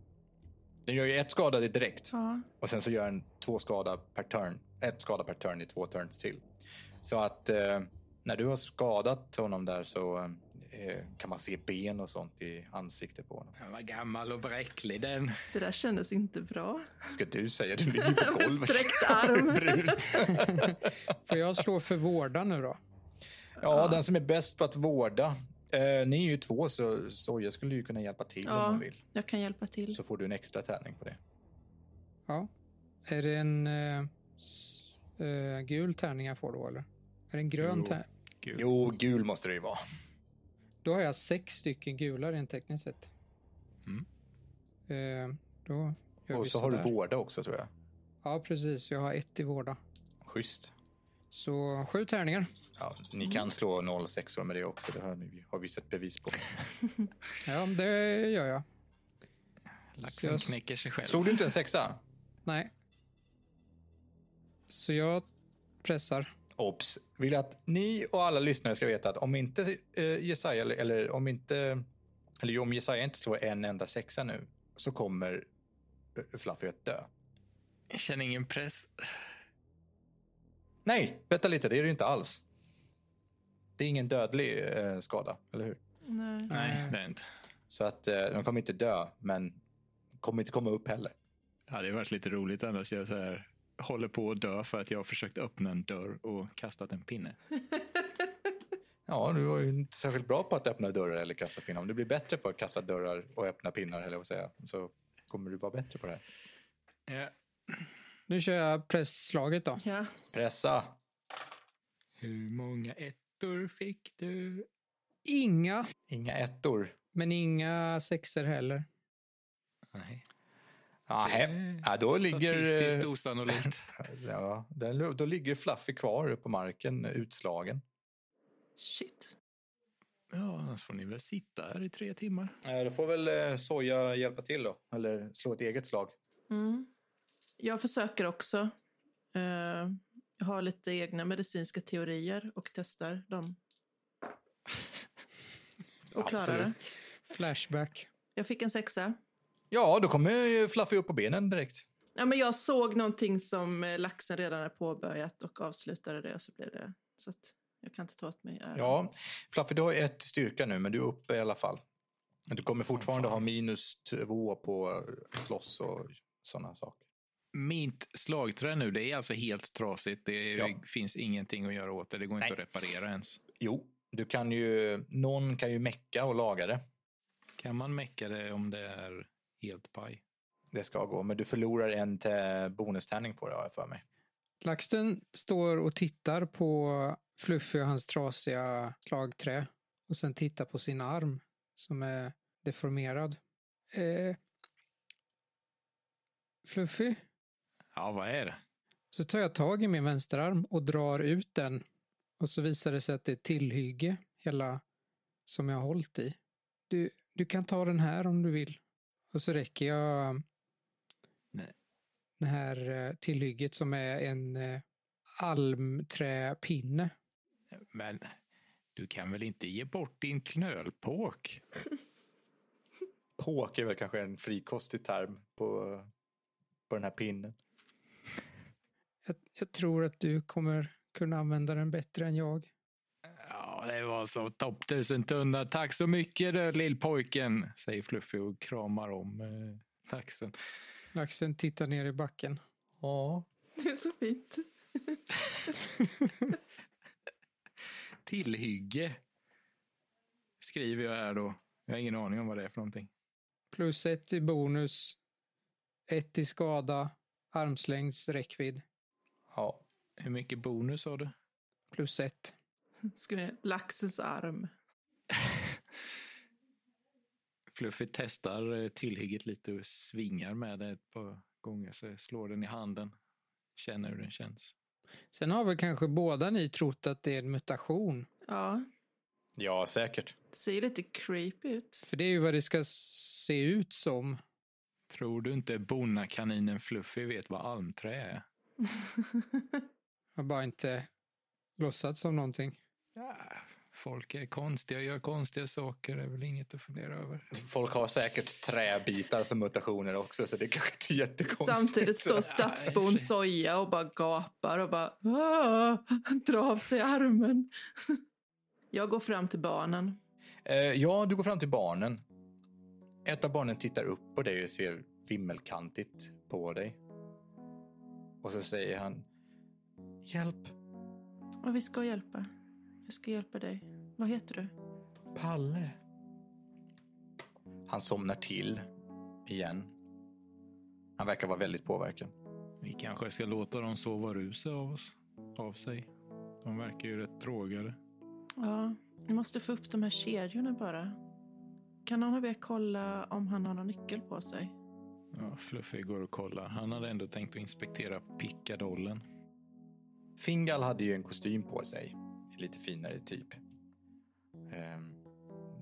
[SPEAKER 1] Den gör ju ett skada direkt.
[SPEAKER 4] Ja.
[SPEAKER 1] Och sen så gör den två skada per turn. Ett skada per turn i två turns till. Så att eh, när du har skadat honom där så eh, kan man se ben och sånt i ansiktet på honom.
[SPEAKER 3] Han var gammal och bräcklig den.
[SPEAKER 4] Det där kändes inte bra.
[SPEAKER 1] Ska du säga? Du ligger på
[SPEAKER 4] Med
[SPEAKER 1] golvet.
[SPEAKER 4] sträckt arm.
[SPEAKER 1] Brut.
[SPEAKER 5] Får jag slå för vårda nu då?
[SPEAKER 1] Ja, den som är bäst på att vårda. Eh, ni är ju två, så, så jag skulle ju kunna hjälpa till om
[SPEAKER 4] Ja,
[SPEAKER 1] man vill.
[SPEAKER 4] jag kan hjälpa till.
[SPEAKER 1] Så får du en extra tärning på det.
[SPEAKER 5] Ja. Är det en eh, s- eh, gul tärning jag får då eller? Är det en grön
[SPEAKER 3] Jo.
[SPEAKER 5] tärning?
[SPEAKER 3] Gud.
[SPEAKER 1] Jo, gul måste det ju vara.
[SPEAKER 5] Då har jag sex stycken gula rent tekniskt sett. Eh, då gör
[SPEAKER 1] Mm. Och
[SPEAKER 5] vi
[SPEAKER 1] så har du
[SPEAKER 5] sådär.
[SPEAKER 1] vårda också, tror jag.
[SPEAKER 5] Ja, precis. Jag har ett i vårda.
[SPEAKER 1] Schysst.
[SPEAKER 5] Så sju tärningar.
[SPEAKER 1] Ja, ni kan
[SPEAKER 4] Mm.
[SPEAKER 1] slå 06 med det också. Det har, ni, har vi sett bevis på.
[SPEAKER 5] Ja, det gör jag.
[SPEAKER 3] Laxen
[SPEAKER 5] Yes.
[SPEAKER 3] knäcker sig själv.
[SPEAKER 1] Slog du inte en sexa?
[SPEAKER 5] Nej. Så jag pressar.
[SPEAKER 1] Obs! Vill att ni och alla lyssnare ska veta att om inte eh, Jesaja, eller, eller om inte, eller om Jesaja inte slår en enda sexa nu, så kommer eh, Fluffy att dö.
[SPEAKER 3] Jag känner ingen press.
[SPEAKER 1] Nej, vänta lite, det är det ju inte alls. Det är ingen dödlig eh, skada, eller hur?
[SPEAKER 4] Nej.
[SPEAKER 3] Nej, det är inte.
[SPEAKER 1] Så att eh, de kommer inte dö, men kommer inte komma upp heller.
[SPEAKER 3] Ja, det hade varit lite roligt annars. Jag så här, håller på att dö för att jag har försökt öppna en dörr och kastat en pinne.
[SPEAKER 1] Ja, du var ju inte särskilt bra på att öppna dörrar eller kasta pinnar. Om du blir bättre på att kasta dörrar och öppna pinnar, eller vad säger jag, så kommer du vara bättre på det här.
[SPEAKER 3] Ja.
[SPEAKER 5] Nu kör jag pressslaget då.
[SPEAKER 4] Ja.
[SPEAKER 1] Pressa!
[SPEAKER 3] Hur många ettor fick du?
[SPEAKER 5] Inga,
[SPEAKER 1] Inga ettor.
[SPEAKER 5] men inga sexer heller.
[SPEAKER 3] Nej.
[SPEAKER 1] Nej, ja, då ligger...
[SPEAKER 3] Statistiskt
[SPEAKER 1] eh,
[SPEAKER 3] osannolikt.
[SPEAKER 1] Ja, den- då ligger Fluffy kvar uppe på marken, utslagen.
[SPEAKER 4] Shit.
[SPEAKER 3] Ja, annars får ni väl sitta här i tre timmar.
[SPEAKER 1] Då får väl eh, Soja hjälpa till då, eller slå ett eget slag.
[SPEAKER 4] Mm. Jag försöker också. Eh, jag har lite egna medicinska teorier och testar dem. Och klarar det.
[SPEAKER 5] Flashback.
[SPEAKER 4] Jag fick en sexa.
[SPEAKER 1] Ja, då kommer ju Fluffy upp på benen direkt.
[SPEAKER 4] Ja, men jag såg någonting som eh, laxen redan har påbörjat och avslutade det och så blev det... Så att jag kan inte ta åt mig äran.
[SPEAKER 1] Ja, Fluffy, du har ett styrka nu, men du är uppe i alla fall. Men Du kommer fortfarande ha minus två på slåss och sådana saker.
[SPEAKER 3] Mitt slagträ nu, det är alltså helt trasigt. Det är,
[SPEAKER 1] Ja.
[SPEAKER 3] finns ingenting att göra åt det. Det går inte att reparera ens.
[SPEAKER 1] Jo, du kan ju, någon kan ju mecka och laga det.
[SPEAKER 3] Kan man mecka det om det är helt paj?
[SPEAKER 1] Det ska gå, men du förlorar en te- bonustärning på det har jag för mig.
[SPEAKER 5] Laxten står och tittar på Fluffy och hans trasiga slagträ och sen tittar på sin arm som är deformerad. Eh, Fluffy?
[SPEAKER 3] Ja, vad är det?
[SPEAKER 5] Så tar jag tag i min vänsterarm och drar ut den. Och så visar det sig att det är ett tillhygge, hela som jag har hållit i. Du, du kan ta den här om du vill. Och så räcker jag
[SPEAKER 3] Nej.
[SPEAKER 5] det här eh, tillhygget som är en eh, almträpinne.
[SPEAKER 3] Men du kan väl inte ge bort din knölpåk?
[SPEAKER 1] Påk är väl kanske en frikostig term på, på den här pinnen.
[SPEAKER 5] Jag, jag tror att du kommer kunna använda den bättre än jag.
[SPEAKER 3] Ja, det var så topp tusen tunna. Tack så mycket, du, lillpojken, säger Fluffy och kramar om eh, laxen.
[SPEAKER 5] Laxen tittar ner i backen.
[SPEAKER 1] Ja.
[SPEAKER 4] Det är så fint.
[SPEAKER 3] Tillhygge. skriver jag här då. Jag har ingen aning om vad det är för någonting.
[SPEAKER 5] Plus ett i bonus. Ett i skada. Armslängds räckvidd.
[SPEAKER 1] Ja.
[SPEAKER 3] Hur mycket bonus har du?
[SPEAKER 5] Plus ett.
[SPEAKER 4] Ska vi, laxens arm.
[SPEAKER 3] Fluffy testar eh, tillhygget lite och svingar med det ett par gånger. Så jag slår den i handen. Känner hur den känns.
[SPEAKER 5] Sen har väl kanske båda ni trott att det är en mutation.
[SPEAKER 4] Ja,
[SPEAKER 1] Ja, säkert.
[SPEAKER 4] det ser lite creepy ut.
[SPEAKER 5] För det är ju vad det ska se ut som.
[SPEAKER 3] Tror du inte bonakaninen Fluffy vet vad almträ är?
[SPEAKER 5] Jag har bara inte låtsats som någonting.
[SPEAKER 3] Ja, folk är konstiga och gör konstiga saker. Det är väl inget att fundera över.
[SPEAKER 1] Folk har säkert träbitar som mutationer också, så det kanske inte är jättekonstigt.
[SPEAKER 4] Samtidigt står stadsbon Soja och bara gapar och bara "Ah!" drar av sig armen. Jag går fram till barnen.
[SPEAKER 1] Eh, ja, du går fram till barnen. Ett av barnen tittar upp på dig och ser vimmelkantigt på dig. Och så säger han... Hjälp,
[SPEAKER 4] Och vi ska hjälpa. Jag ska hjälpa dig. Vad heter du?
[SPEAKER 1] Palle. Han somnar till igen. Han verkar vara väldigt påverkad.
[SPEAKER 3] Vi kanske ska låta dem sova ruset av, oss, av sig. De verkar ju rätt drogade.
[SPEAKER 4] Ja, vi måste få upp de här kedjorna bara. Kan någon av er kolla om han har någon nyckel på sig?
[SPEAKER 3] Ja, Fluffy går och kollar. Han hade ändå tänkt att inspektera pickadollen.
[SPEAKER 1] Fingal hade ju en kostym på sig. Lite finare typ. Ehm,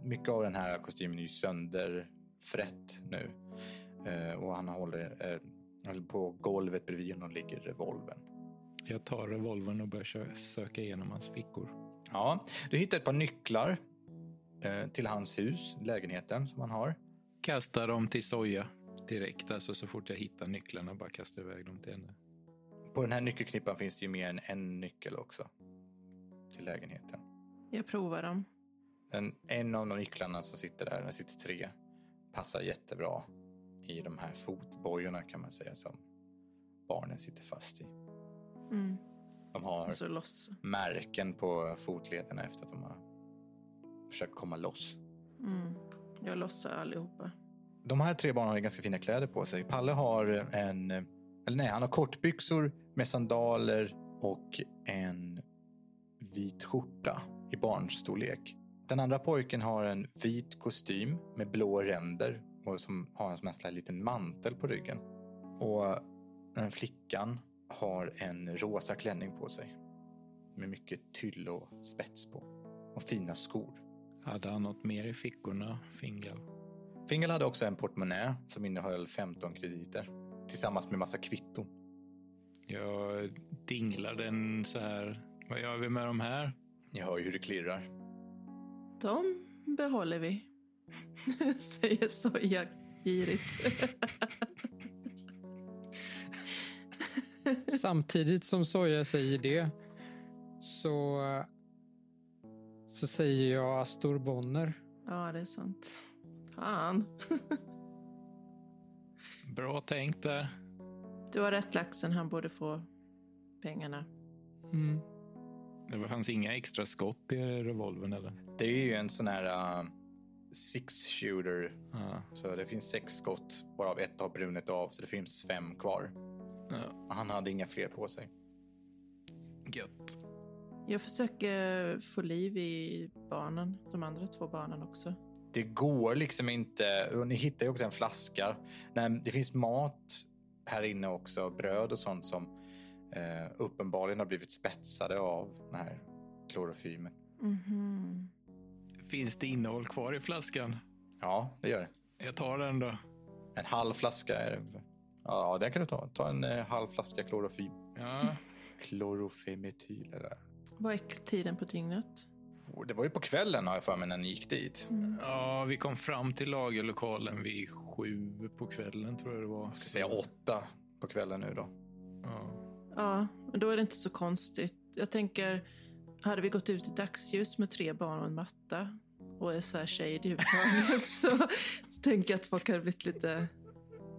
[SPEAKER 1] mycket av den här kostymen är ju sönderfrätt nu. Eh, och han håller eh, på golvet bredvid honom ligger revolvern.
[SPEAKER 3] Jag tar revolvern och börjar kö- söka igenom hans fickor.
[SPEAKER 1] Ja, du hittar ett par nycklar eh, till hans hus, lägenheten som han har.
[SPEAKER 3] Kastar dem till Soja direkt, alltså så fort jag hittar nycklarna bara kastar jag iväg dem till henne.
[SPEAKER 1] På den här nyckelknippan finns det ju mer än en nyckel också. Till lägenheten.
[SPEAKER 4] Jag provar dem.
[SPEAKER 1] Den, en av de nycklarna som sitter där, den sitter tre, passar jättebra i de här fotbojorna kan man säga som barnen sitter fast i.
[SPEAKER 4] Mm.
[SPEAKER 1] De har
[SPEAKER 4] Och så loss.
[SPEAKER 1] märken på fotlederna efter att de har försökt komma loss.
[SPEAKER 4] Mm. Jag lossar allihopa.
[SPEAKER 1] De här tre barnen har ju ganska fina kläder på sig. Palle har en, eller nej, han har kortbyxor med sandaler och en vit skjorta i barnstorlek. Den andra pojken har en vit kostym med blå ränder och som har en sån här slags liten mantel på ryggen. Och den flickan har en rosa klänning på sig med mycket tyll och spets på och fina skor.
[SPEAKER 3] Hade han något mer i fickorna, Fingal?
[SPEAKER 1] Fingal hade också en portmonnä som innehöll 15 krediter tillsammans med massa kvitton.
[SPEAKER 3] Jag dinglar den så här. Vad gör vi med de här?
[SPEAKER 1] Ni hör ju hur det klirrar.
[SPEAKER 4] De behåller vi. Säger Soja girigt.
[SPEAKER 5] Samtidigt som Soja säger det så, så säger jag Astor Bonner.
[SPEAKER 4] ja, det är sant. Fan.
[SPEAKER 3] Bra tänkt där.
[SPEAKER 4] Du har rätt, laxen. Han borde få pengarna.
[SPEAKER 5] Mm.
[SPEAKER 3] Det fanns inga extra skott i revolvern eller?
[SPEAKER 1] Det är ju en sån här uh, six shooter.
[SPEAKER 3] Ja.
[SPEAKER 1] Så det finns sex skott, varav ett har brunnit av, så det finns fem kvar.
[SPEAKER 3] Ja.
[SPEAKER 1] Han hade inga fler på sig.
[SPEAKER 3] Gött.
[SPEAKER 4] Jag försöker få liv i barnen, de andra två barnen också.
[SPEAKER 1] Det går liksom inte. Och ni hittar ju också en flaska. Nej, det finns mat här inne också, bröd och sånt som eh, uppenbarligen har blivit spetsade av den här klorofymen.
[SPEAKER 4] Mhm.
[SPEAKER 3] Finns det innehåll kvar i flaskan?
[SPEAKER 1] Ja, det gör det.
[SPEAKER 3] Jag tar den då.
[SPEAKER 1] En halv flaska är det. Ja, den kan du ta. Ta en eh, halv flaska klorofy...
[SPEAKER 3] Ja.
[SPEAKER 1] klorofemetyl. Eller?
[SPEAKER 4] Vad är tiden på dygnet?
[SPEAKER 1] Oh, Det var ju på kvällen har jag för mig när ni gick dit. Jag
[SPEAKER 3] ja, vi kom fram till lagerlokalen vid sju på kvällen tror jag det var.
[SPEAKER 1] skulle säga åtta på kvällen nu då.
[SPEAKER 3] Ja.
[SPEAKER 4] Ja, men då är det inte så konstigt. Jag tänker, hade vi gått ut i dagsljus med tre barn och en matta och är så här shady i huvudtaget så, så tänker jag att folk hade blivit lite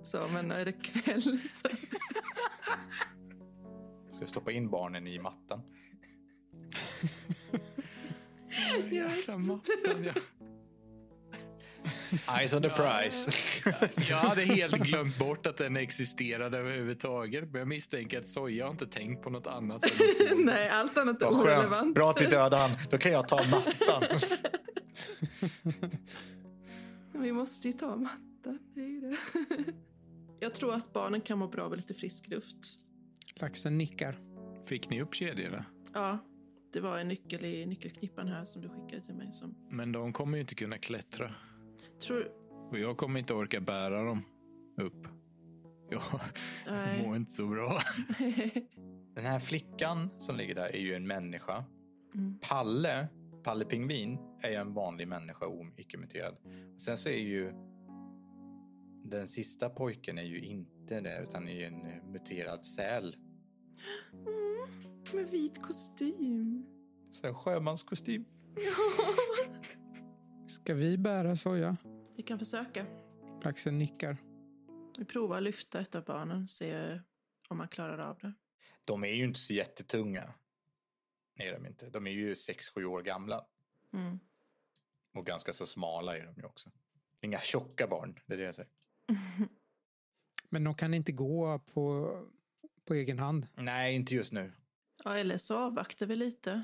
[SPEAKER 4] så, men är det kväll så...
[SPEAKER 1] Ska jag stoppa in barnen i mattan?
[SPEAKER 3] Jävla mattan, ja.
[SPEAKER 1] Eyes on the prize.
[SPEAKER 3] Jag hade helt glömt bort att den existerade överhuvudtaget. Men jag misstänker att Soja har inte tänkt på något annat. sen hon såg den.
[SPEAKER 4] Nej, allt annat är
[SPEAKER 1] Vad skönt.
[SPEAKER 4] orelevant.
[SPEAKER 1] Bra att vi dödade han. Då kan jag ta mattan.
[SPEAKER 4] Vi måste ju ta mattan, det är ju det. Jag tror att barnen kan må bra av lite frisk luft.
[SPEAKER 5] Laxen nickar.
[SPEAKER 3] Fick ni upp kedjorna?
[SPEAKER 4] Ja, det var en nyckel i nyckelknippan här som du skickade till mig. Som,
[SPEAKER 3] Men de kommer ju inte kunna klättra.
[SPEAKER 4] tror,
[SPEAKER 3] Och jag kommer inte orka bära dem upp. Jag
[SPEAKER 4] nej.
[SPEAKER 3] mår inte så bra.
[SPEAKER 1] Den här flickan som ligger där är ju en människa.
[SPEAKER 4] Mm.
[SPEAKER 1] Palle, Palle Pingvin, är ju en vanlig människa, o- icke-muterad. Sen så är ju den sista pojken är ju inte det, utan är ju en eh, muterad säl.
[SPEAKER 4] Mm, med vit kostym.
[SPEAKER 1] Så en sjömanskostym.
[SPEAKER 5] Ska vi bära soja?
[SPEAKER 4] Vi kan försöka.
[SPEAKER 5] Laxen nickar.
[SPEAKER 4] Vi provar att lyfta ett av barnen och se om man klarar av det.
[SPEAKER 1] De är ju inte så jättetunga. Nej, de är inte. De är ju sex sju år gamla.
[SPEAKER 4] Mm.
[SPEAKER 1] Och ganska så smala är de ju också. Inga tjocka barn, det är det jag säger.
[SPEAKER 5] Men de kan inte gå på, på egen hand.
[SPEAKER 1] Nej, inte just nu.
[SPEAKER 4] Ja, eller så avvaktar vi lite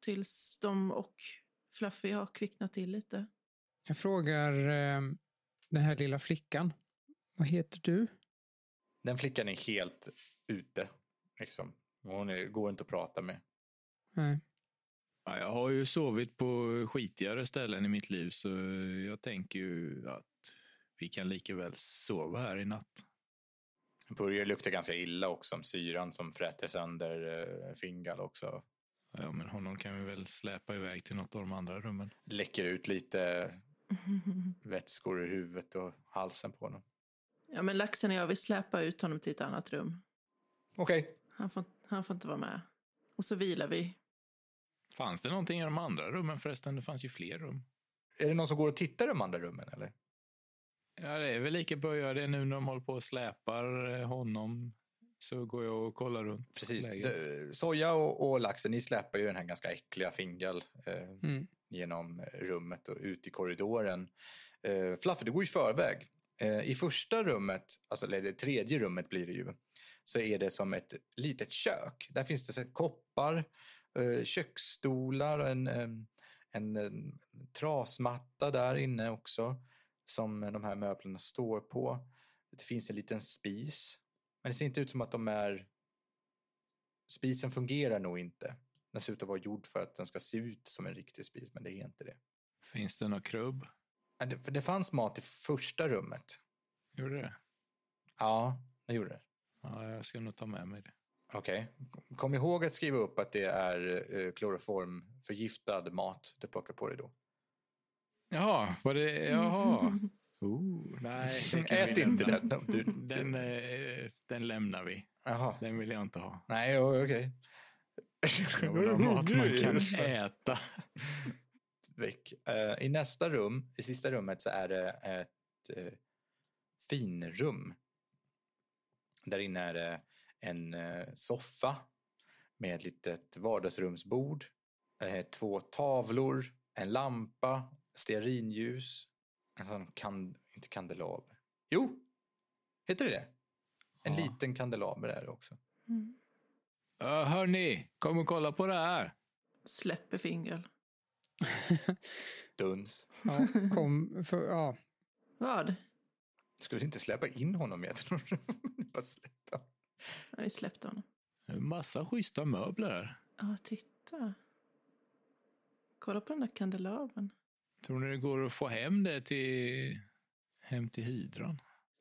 [SPEAKER 4] tills de och Fluffy har kvicknat till lite.
[SPEAKER 5] Jag frågar eh, den här lilla flickan. Vad heter du?
[SPEAKER 1] Den flickan är helt ute. Liksom. Hon är, går inte att prata med.
[SPEAKER 5] Nej.
[SPEAKER 3] Ja, jag har ju sovit på skitigare ställen i mitt liv så jag tänker ju att vi kan lika väl sova här i natt.
[SPEAKER 1] Det börjar lukta ganska illa också om syran som fräter sönder eh, Fingal också.
[SPEAKER 3] Ja, men honom kan vi väl släpa iväg till något av de andra rummen.
[SPEAKER 1] Läcker ut lite vätskor i huvudet och halsen på honom.
[SPEAKER 4] ja, men laxen och jag vill släpa ut honom till ett annat rum.
[SPEAKER 1] Okej.
[SPEAKER 4] Han får, han får inte vara med. Och så vilar vi.
[SPEAKER 3] Fanns det någonting i de andra rummen förresten? Det fanns ju fler rum.
[SPEAKER 1] Är det någon som går och tittar i de andra rummen eller?
[SPEAKER 3] Ja, det är väl lika bra att göra det nu när de håller på och släpar eh, honom. Så går jag och kollar runt.
[SPEAKER 1] Precis.
[SPEAKER 3] läget.
[SPEAKER 1] D- Eh, Soja och, och laxen, ni släpar ju den här ganska äckliga Fingal eh,
[SPEAKER 5] Mm.
[SPEAKER 1] genom eh, rummet och ut i korridoren. Eh, Fluffy, du går i förväg. Eh, I första rummet, alltså eller det tredje rummet blir det ju, så är det som ett litet kök. Där finns det så här koppar, eh, köksstolar och en, en, en, en trasmatta där inne också som de här möblerna står på. Det finns en liten spis, men det ser inte ut som att de är... Spisen fungerar nog inte. Den ser ut att vara gjord för att den ska se ut som en riktig spis, men det är inte det.
[SPEAKER 3] Finns det några krubb?
[SPEAKER 1] Ja, Det, för det fanns mat i första rummet.
[SPEAKER 3] Gjorde det?
[SPEAKER 1] Ja, det gjorde det.
[SPEAKER 3] Ja, jag ska nog ta med mig det.
[SPEAKER 1] Okej. Kom ihåg att skriva upp att det är eh, kloroformförgiftad mat du plockar på dig då.
[SPEAKER 3] Jaha, var det... Jaha. Ooh, nej, det kan vi
[SPEAKER 1] Ät inte
[SPEAKER 3] lämna.
[SPEAKER 1] den. Du,
[SPEAKER 3] Den, eh, den lämnar vi.
[SPEAKER 1] Jaha.
[SPEAKER 3] Den vill jag inte ha.
[SPEAKER 1] Nej, o- okej.
[SPEAKER 3] Jag vill ha mat man kan äta.
[SPEAKER 1] Väck. Eh, I nästa rum, i sista rummet, så är det ett eh, finrum. Där inne är det en eh, soffa med ett litet vardagsrumsbord. Eh, två tavlor, en lampa, stearinljus. En sån kan, inte kandelaber. Jo, heter det det? En
[SPEAKER 3] Ja.
[SPEAKER 1] liten kandelaber är det också.
[SPEAKER 4] Mm.
[SPEAKER 3] Uh, hörni, kom och kolla på det här.
[SPEAKER 4] Släpper fingel.
[SPEAKER 1] Duns.
[SPEAKER 5] Ja, kom, för, ja,
[SPEAKER 4] Vad?
[SPEAKER 1] Skulle inte släppa in honom i ett rum. Bara släppa.
[SPEAKER 4] Ja, vi släppte honom.
[SPEAKER 3] En massa schyssta möbler här.
[SPEAKER 4] Ja, titta. Kolla på den där kandelabern.
[SPEAKER 3] Tror ni det går att få hem det till, hem till hydran?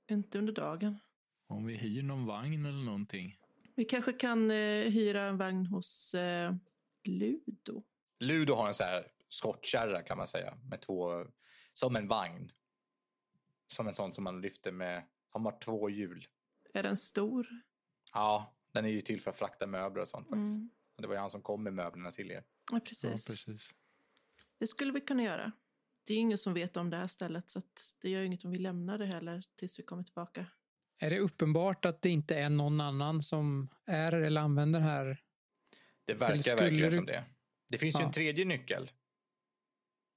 [SPEAKER 4] Inte under dagen.
[SPEAKER 3] Om vi hyr någon vagn eller någonting.
[SPEAKER 4] Vi kanske kan eh, hyra en vagn hos eh, Ludo.
[SPEAKER 1] Ludo har en så här skottkärra kan man säga. Med två, som en vagn. Som en sån som man lyfter med, som har två hjul.
[SPEAKER 4] Är den stor?
[SPEAKER 1] Ja, den är ju till för att frakta möbler och sånt faktiskt.
[SPEAKER 4] Mm.
[SPEAKER 1] Det var ju han som kom med möblerna till er.
[SPEAKER 4] Ja,
[SPEAKER 3] Ja,
[SPEAKER 4] precis.
[SPEAKER 3] precis.
[SPEAKER 4] Det skulle vi kunna göra. Det är ingen som vet om det här stället så att det gör inget om vi lämnar det heller tills vi kommer tillbaka.
[SPEAKER 5] är det uppenbart att det inte är någon annan som är eller använder här?
[SPEAKER 1] Det
[SPEAKER 5] Eller
[SPEAKER 1] verkar
[SPEAKER 5] skulle
[SPEAKER 1] verkligen
[SPEAKER 5] du-
[SPEAKER 1] som det. Det finns ju
[SPEAKER 5] Ja.
[SPEAKER 1] en tredje nyckel.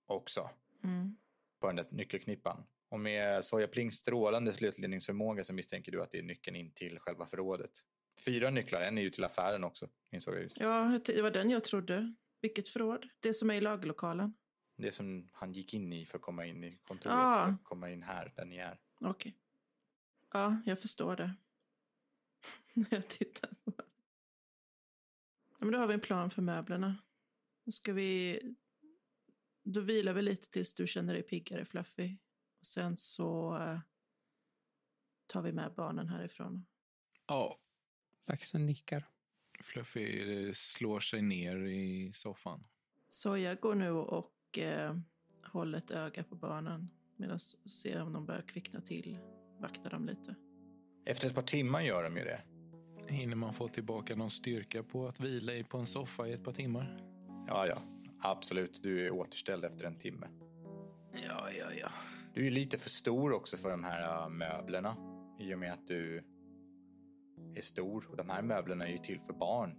[SPEAKER 1] Också.
[SPEAKER 4] Mm.
[SPEAKER 1] på den där nyckelknippan. Och med Soja Plings strålande slutledningsförmåga så misstänker du att det är nyckeln in till själva förrådet. Fyra nycklar, en är ju till affären också, insåg jag just.
[SPEAKER 4] Ja, det var den jag trodde. Vilket förråd? Det som är i lagerlokalen.
[SPEAKER 1] Det som han gick in i för att komma in i kontoret,
[SPEAKER 4] Ah.
[SPEAKER 1] för att komma in här, där ni är.
[SPEAKER 4] Okej. Ja, jag förstår det. När jag tittar på det. Ja, men då har vi en plan för möblerna. Då ska vi... Då vilar vi lite tills du känner dig piggare, Fluffy. Och sen så eh, tar vi med barnen härifrån.
[SPEAKER 3] Ja,
[SPEAKER 5] Laxen nickar.
[SPEAKER 3] Fluffy eh, slår sig ner i soffan.
[SPEAKER 4] Så jag går nu och eh, håller ett öga på barnen medan ser om de börjar kvickna till. Vaktar dem lite.
[SPEAKER 1] Efter ett par timmar gör de ju det.
[SPEAKER 3] Hinner man få tillbaka någon styrka på att vila i på en soffa i ett par timmar?
[SPEAKER 1] Ja, ja. Absolut, du är återställd efter en timme.
[SPEAKER 3] Ja, ja, ja.
[SPEAKER 1] Du är ju lite för stor också för de här äh, möblerna. I och med att du är stor. Och de här möblerna är ju till för barn.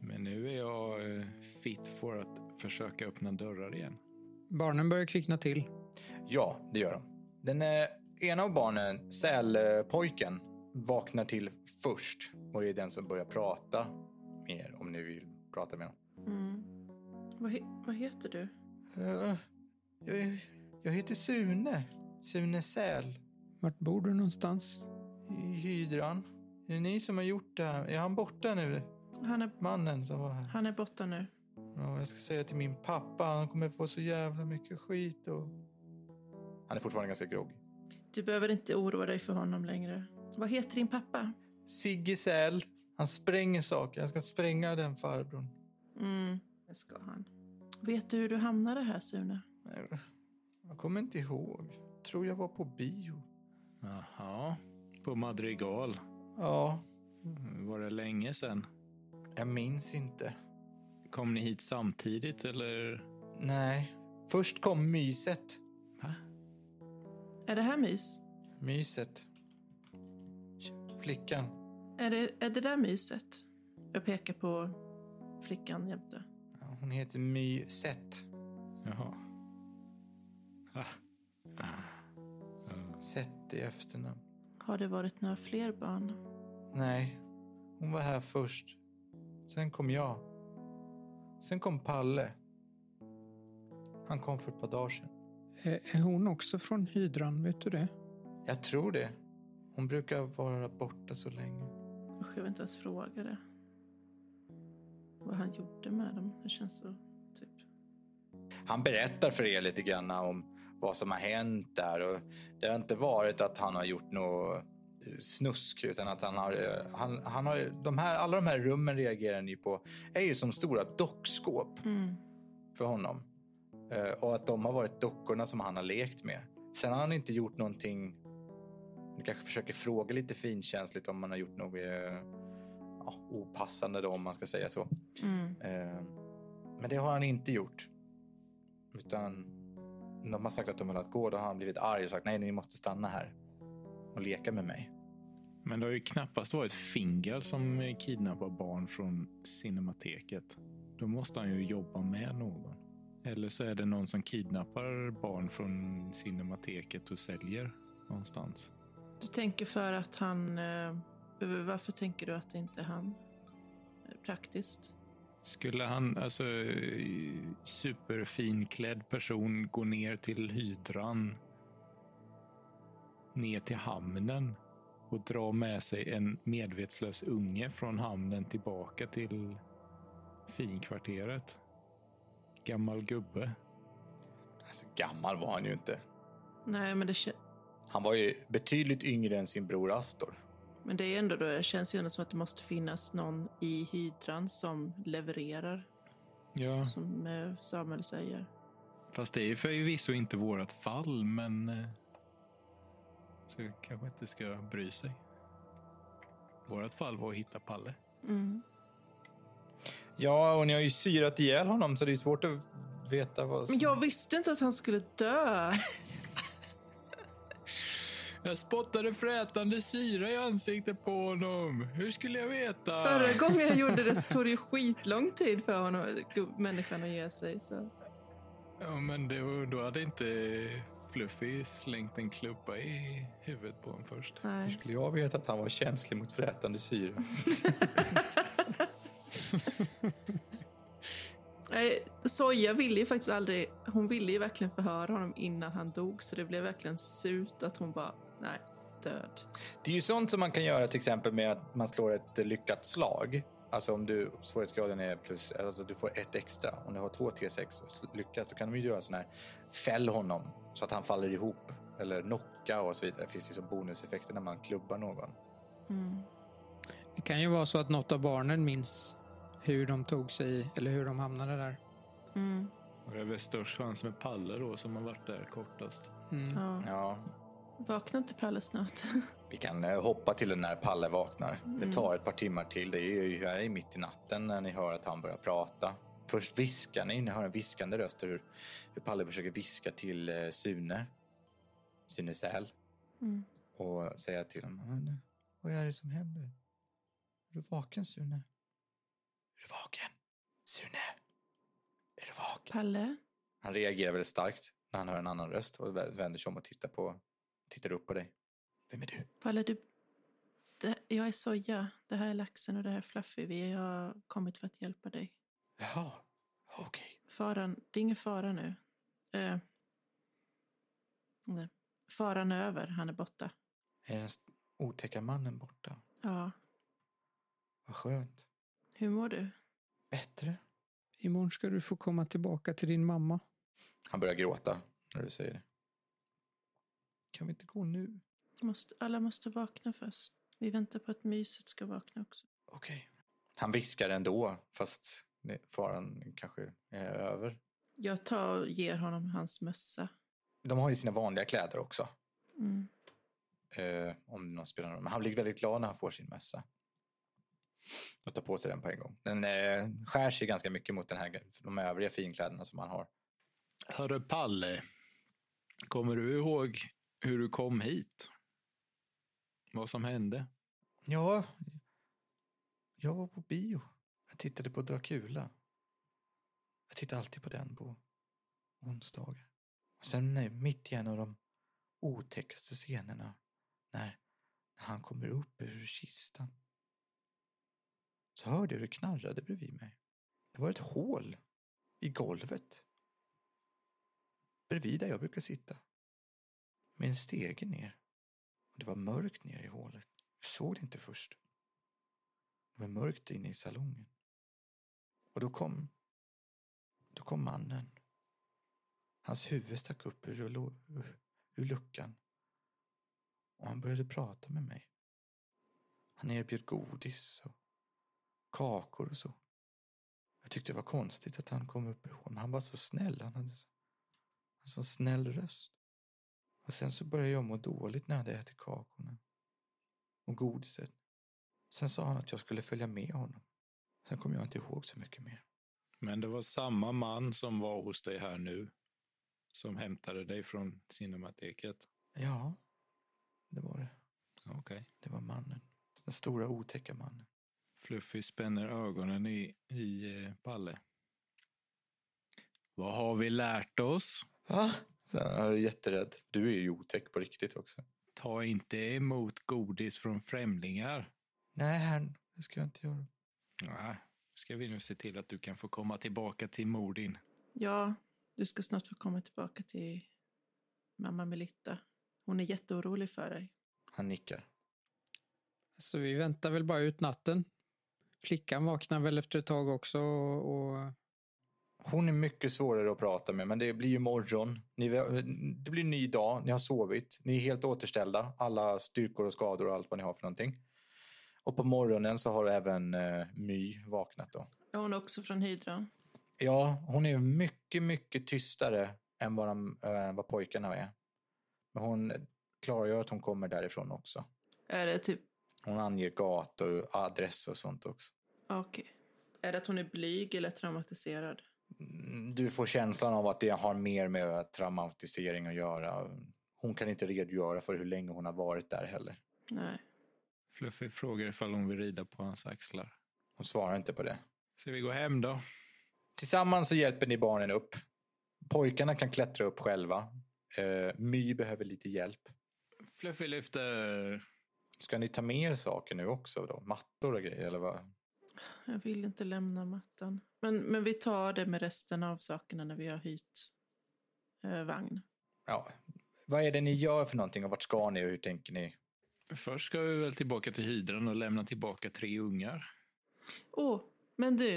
[SPEAKER 3] Men nu är jag eh, fit för att försöka öppna dörrar igen.
[SPEAKER 5] Barnen börjar kvickna till.
[SPEAKER 1] Ja, det gör de. Den eh, ena av barnen, sälpojken, vaknar till först och är den som börjar prata med er om ni vill prata med honom.
[SPEAKER 4] Mm. Vad, he- vad heter du?
[SPEAKER 1] Eh, jag, heter Sune. Sune Säl.
[SPEAKER 5] Vart bor du någonstans?
[SPEAKER 1] I hydran. Är det ni som har gjort det här? Är han borta nu?
[SPEAKER 4] Han är,
[SPEAKER 1] Mannen som var här.
[SPEAKER 4] han är borta nu.
[SPEAKER 1] Ja, jag ska säga till min pappa, han kommer få så jävla mycket skit och... Han är fortfarande ganska groggy.
[SPEAKER 4] Du behöver inte oroa dig för honom längre. Vad heter din pappa?
[SPEAKER 1] Sigge Säl. Han spränger saker. Han ska spränga den farbrorn.
[SPEAKER 4] Mm, det ska han. Vet du hur du hamnade här, Sune?
[SPEAKER 1] Nej, Jag kommer inte ihåg. Tror jag var på bio.
[SPEAKER 3] Jaha, på Madrigal.
[SPEAKER 1] Ja,
[SPEAKER 3] Var det länge sedan?
[SPEAKER 1] jag minns inte.
[SPEAKER 3] Kom ni hit samtidigt eller?
[SPEAKER 1] Nej. Först kom myset.
[SPEAKER 3] Va?
[SPEAKER 4] Är det här mys?
[SPEAKER 1] Myset. Flickan.
[SPEAKER 4] Är det, är det där myset? Jag pekar på flickan jämte.
[SPEAKER 1] Ja, Hon heter Myset.
[SPEAKER 3] Jaha. Ah.
[SPEAKER 1] Sett i efternamn.
[SPEAKER 4] Har det varit några fler barn?
[SPEAKER 1] Nej, hon var här först. Sen kom jag. Sen kom Palle. Han kom för ett par dagar sedan.
[SPEAKER 5] Är är hon också från hydran? Vet du det?
[SPEAKER 1] Jag tror det. Hon brukar vara borta så länge.
[SPEAKER 4] Usch, jag vill inte ens fråga det. Vad han gjorde med dem. Det känns så... Typ.
[SPEAKER 1] Han berättar för er lite grann om vad som har hänt där. Och det har inte varit att han har gjort något eh, snusk utan att han har... eh, Han, han har de här, alla de här rummen reagerar ni på är ju som stora dockskåp
[SPEAKER 4] Mm.
[SPEAKER 1] för honom. Eh, Och att de har varit dockorna som han har lekt med. Sen har han inte gjort någonting... Du kanske försöker fråga lite finkänsligt om man har gjort något eh, ja, opassande då, om man ska säga så.
[SPEAKER 4] Mm.
[SPEAKER 1] Eh, Men det har han inte gjort. Utan de har sagt att de vill att gå. Då har han blivit arg och sagt nej, ni måste stanna här och leka med mig.
[SPEAKER 3] Men det har ju knappast varit Fingal som eh, kidnappar barn från Cinemateket. Då måste han ju jobba med någon. Eller så är det någon som kidnappar barn från Cinemateket och säljer någonstans.
[SPEAKER 4] Du tänker för att han... Eh, varför tänker du att det inte är han? Eh, Praktiskt.
[SPEAKER 3] Skulle han, alltså eh, superfinklädd person, gå ner till hydran, ner till hamnen och dra med sig en medvetslös unge från hamnen tillbaka till finkvarteret? Gammal gubbe.
[SPEAKER 1] Alltså, gammal var han ju inte.
[SPEAKER 4] Nej, men det, kä-
[SPEAKER 1] Han var ju betydligt yngre än sin bror Astor.
[SPEAKER 4] men det är ändå då, det känns ju ändå som att det måste finnas någon i hydran som levererar,
[SPEAKER 3] Ja,
[SPEAKER 4] som eh, Samuel säger.
[SPEAKER 3] fast det är ju förvisso inte vårt fall, men... eh, Så jag kanske inte ska bry sig. Vårt fall var att hitta Palle.
[SPEAKER 4] Mm.
[SPEAKER 1] Ja, och ni har ju syrat ihjäl honom så det är svårt att veta vad som...
[SPEAKER 4] Men jag visste inte att han skulle dö!
[SPEAKER 3] Jag spottade frätande syra i ansiktet på honom. Hur skulle jag veta?
[SPEAKER 4] Förra gången jag gjorde det så tog det ju skitlång tid för honom, gu- människan att ge sig. Så.
[SPEAKER 3] Ja, men det, var- då hade inte Fluffy slängt en klubba i huvudet på honom först.
[SPEAKER 1] Hur
[SPEAKER 4] Nej.
[SPEAKER 1] skulle jag veta att han var känslig mot frätande syre?
[SPEAKER 4] Nej, Soja ville ju faktiskt aldrig... Hon ville ju verkligen förhöra honom innan han dog så det blev verkligen surt att hon bara, nej, död.
[SPEAKER 1] Det är ju sånt som man kan göra till exempel med att man slår ett eh, lyckat slag. Alltså om du svårighetsgraden är plus, alltså du får ett extra. Om du har två T6 och s- lyckas, då kan de ju göra sån här fäll honom så att han faller ihop eller knocka och så vidare. Det finns ju som bonuseffekter när man klubbar någon.
[SPEAKER 4] Mm.
[SPEAKER 5] Det kan ju vara så att något av barnen minns hur de tog sig eller hur de hamnade där.
[SPEAKER 4] Mm.
[SPEAKER 3] Och det är väl störst chans med Palle då som har varit där kortast.
[SPEAKER 5] Mm.
[SPEAKER 4] Ja.
[SPEAKER 1] Ja,
[SPEAKER 4] Vakna inte Pelle snart.
[SPEAKER 1] vi kan eh, hoppa till när Palle vaknar. Det tar ett par timmar till. Det är ju här i mitt i natten när ni hör att han börjar prata. Först viskar ni, ni hör en viskande röst hur, hur Palle försöker viska till eh, Sune. Sune Säl.
[SPEAKER 4] Mm.
[SPEAKER 1] och säga till honom. "Men, Vad är det som händer? Är du vaken, Sune? Är du vaken? Sune? Är du vaken?
[SPEAKER 4] Palle?
[SPEAKER 1] Han reagerar väldigt starkt när han hör en annan röst och vä- vänder sig om och tittar, på, tittar upp på dig. Vem är du?
[SPEAKER 4] Palle, du... Det, jag är Soja. Det här är Laxen och det här är Fluffy. Vi har kommit för att hjälpa dig.
[SPEAKER 1] Jaha, okej.
[SPEAKER 4] Faran, det är ingen fara nu. Eh, nej. Faran är över, han är borta.
[SPEAKER 1] Är den st- otäcka mannen borta?
[SPEAKER 4] Ja.
[SPEAKER 1] Vad skönt.
[SPEAKER 4] Hur mår du?
[SPEAKER 1] Bättre?
[SPEAKER 5] Imorgon ska du få komma tillbaka till din mamma.
[SPEAKER 1] Han börjar gråta när du säger det. Kan vi inte gå nu?
[SPEAKER 4] Måste, alla måste vakna först. Vi väntar på att myset ska vakna också.
[SPEAKER 1] Okej. Han viskar ändå, fast det- faran kanske är över.
[SPEAKER 4] Jag tar och ger honom hans mössa.
[SPEAKER 1] De har ju sina vanliga kläder också.
[SPEAKER 4] Mm.
[SPEAKER 1] Eh, om någon spelar någon. Men han blir väldigt glad när han får sin mössa. Och tar på sig den på en gång. Den eh, skär sig ganska mycket mot den här, de övriga finkläderna som han har.
[SPEAKER 3] Hörru Palle, kommer du ihåg hur du kom hit? Vad som hände?
[SPEAKER 1] Ja, jag var på bio. Jag tittade på Dracula. Jag tittar alltid på den på onsdagar. Och sen nej, mitt i en av de otäckaste scenerna när, när han kommer upp ur kistan så hörde jag hur det knarrade bredvid mig. Det var ett hål i golvet bredvid där jag brukar sitta med en stege ner. Och det var mörkt ner i hålet. Jag såg det inte först. Det var mörkt inne i salongen. Och då kom... Då kom mannen. Hans huvud stack upp ur, lo- ur- ur luckan. Och han började prata med mig. Han erbjöd godis och kakor och så. Jag tyckte det var konstigt att han kom upp ihåg, men han var så snäll. Han hade så, en sån snäll röst. Och sen så började jag må dåligt när jag hade ätit kakorna och godiset. Sen sa han att jag skulle följa med honom. Sen kommer jag inte ihåg så mycket mer.
[SPEAKER 3] Men det var samma man som var hos dig här nu som hämtade dig från Cinemateket.
[SPEAKER 1] Ja, det var det.
[SPEAKER 3] Okej.
[SPEAKER 1] Det var mannen. Den stora otäcka mannen.
[SPEAKER 3] Fluffy spänner ögonen i, i eh, Palle. Vad har vi lärt oss?
[SPEAKER 1] Va? Sen är jag jätterädd. Du är ju otäck på riktigt också.
[SPEAKER 3] Ta inte emot godis från främlingar.
[SPEAKER 1] Nej, herrn. Det ska jag inte göra.
[SPEAKER 3] Nej, ska vi nu se till att du kan få komma tillbaka till mor din.
[SPEAKER 4] Ja, du ska snart få komma tillbaka till mamma Melitta. Hon är jätteorolig för dig.
[SPEAKER 1] Han nickar.
[SPEAKER 5] Så Alltså, vi väntar väl bara ut natten. Flickan vaknar väl efter ett tag också och, och
[SPEAKER 1] Hon är mycket svårare att prata med, men det blir ju morgon. Ni, det blir en ny dag, ni har sovit, ni är helt återställda. Alla styrkor och skador och allt vad ni har för någonting. Och på morgonen så har även eh, My vaknat då.
[SPEAKER 4] Är hon också från Hydran?
[SPEAKER 1] Ja, hon är mycket, mycket tystare än vad, de, eh, vad pojkarna är. Men hon klargör att hon kommer därifrån också.
[SPEAKER 4] Är det typ...
[SPEAKER 1] Hon anger gator, adress och sånt också.
[SPEAKER 4] ah, Okej. Är det att hon är blyg eller traumatiserad?
[SPEAKER 1] Mm, Du får känslan av att det har mer med traumatisering att göra. Hon kan inte redogöra för hur länge hon har varit där heller.
[SPEAKER 4] Nej.
[SPEAKER 3] Fluffy frågar ifall hon vill rida på hans axlar.
[SPEAKER 1] Hon svarar inte på det.
[SPEAKER 3] Ska vi gå hem då?
[SPEAKER 1] Tillsammans så hjälper ni barnen upp. Pojkarna kan klättra upp själva. Eh, My behöver lite hjälp.
[SPEAKER 3] Fluffy lyfter.
[SPEAKER 1] Ska ni ta med er saker nu också? Då? Mattor och grejer? Eller vad?
[SPEAKER 4] Jag vill inte lämna mattan. Men, men vi tar det med resten av sakerna när vi har hyrt eh, vagn.
[SPEAKER 1] Ja. Vad är det ni gör för någonting och vart ska ni och hur tänker ni?
[SPEAKER 3] Först ska vi väl tillbaka till hydran och lämna tillbaka tre ungar.
[SPEAKER 4] Åh, men du.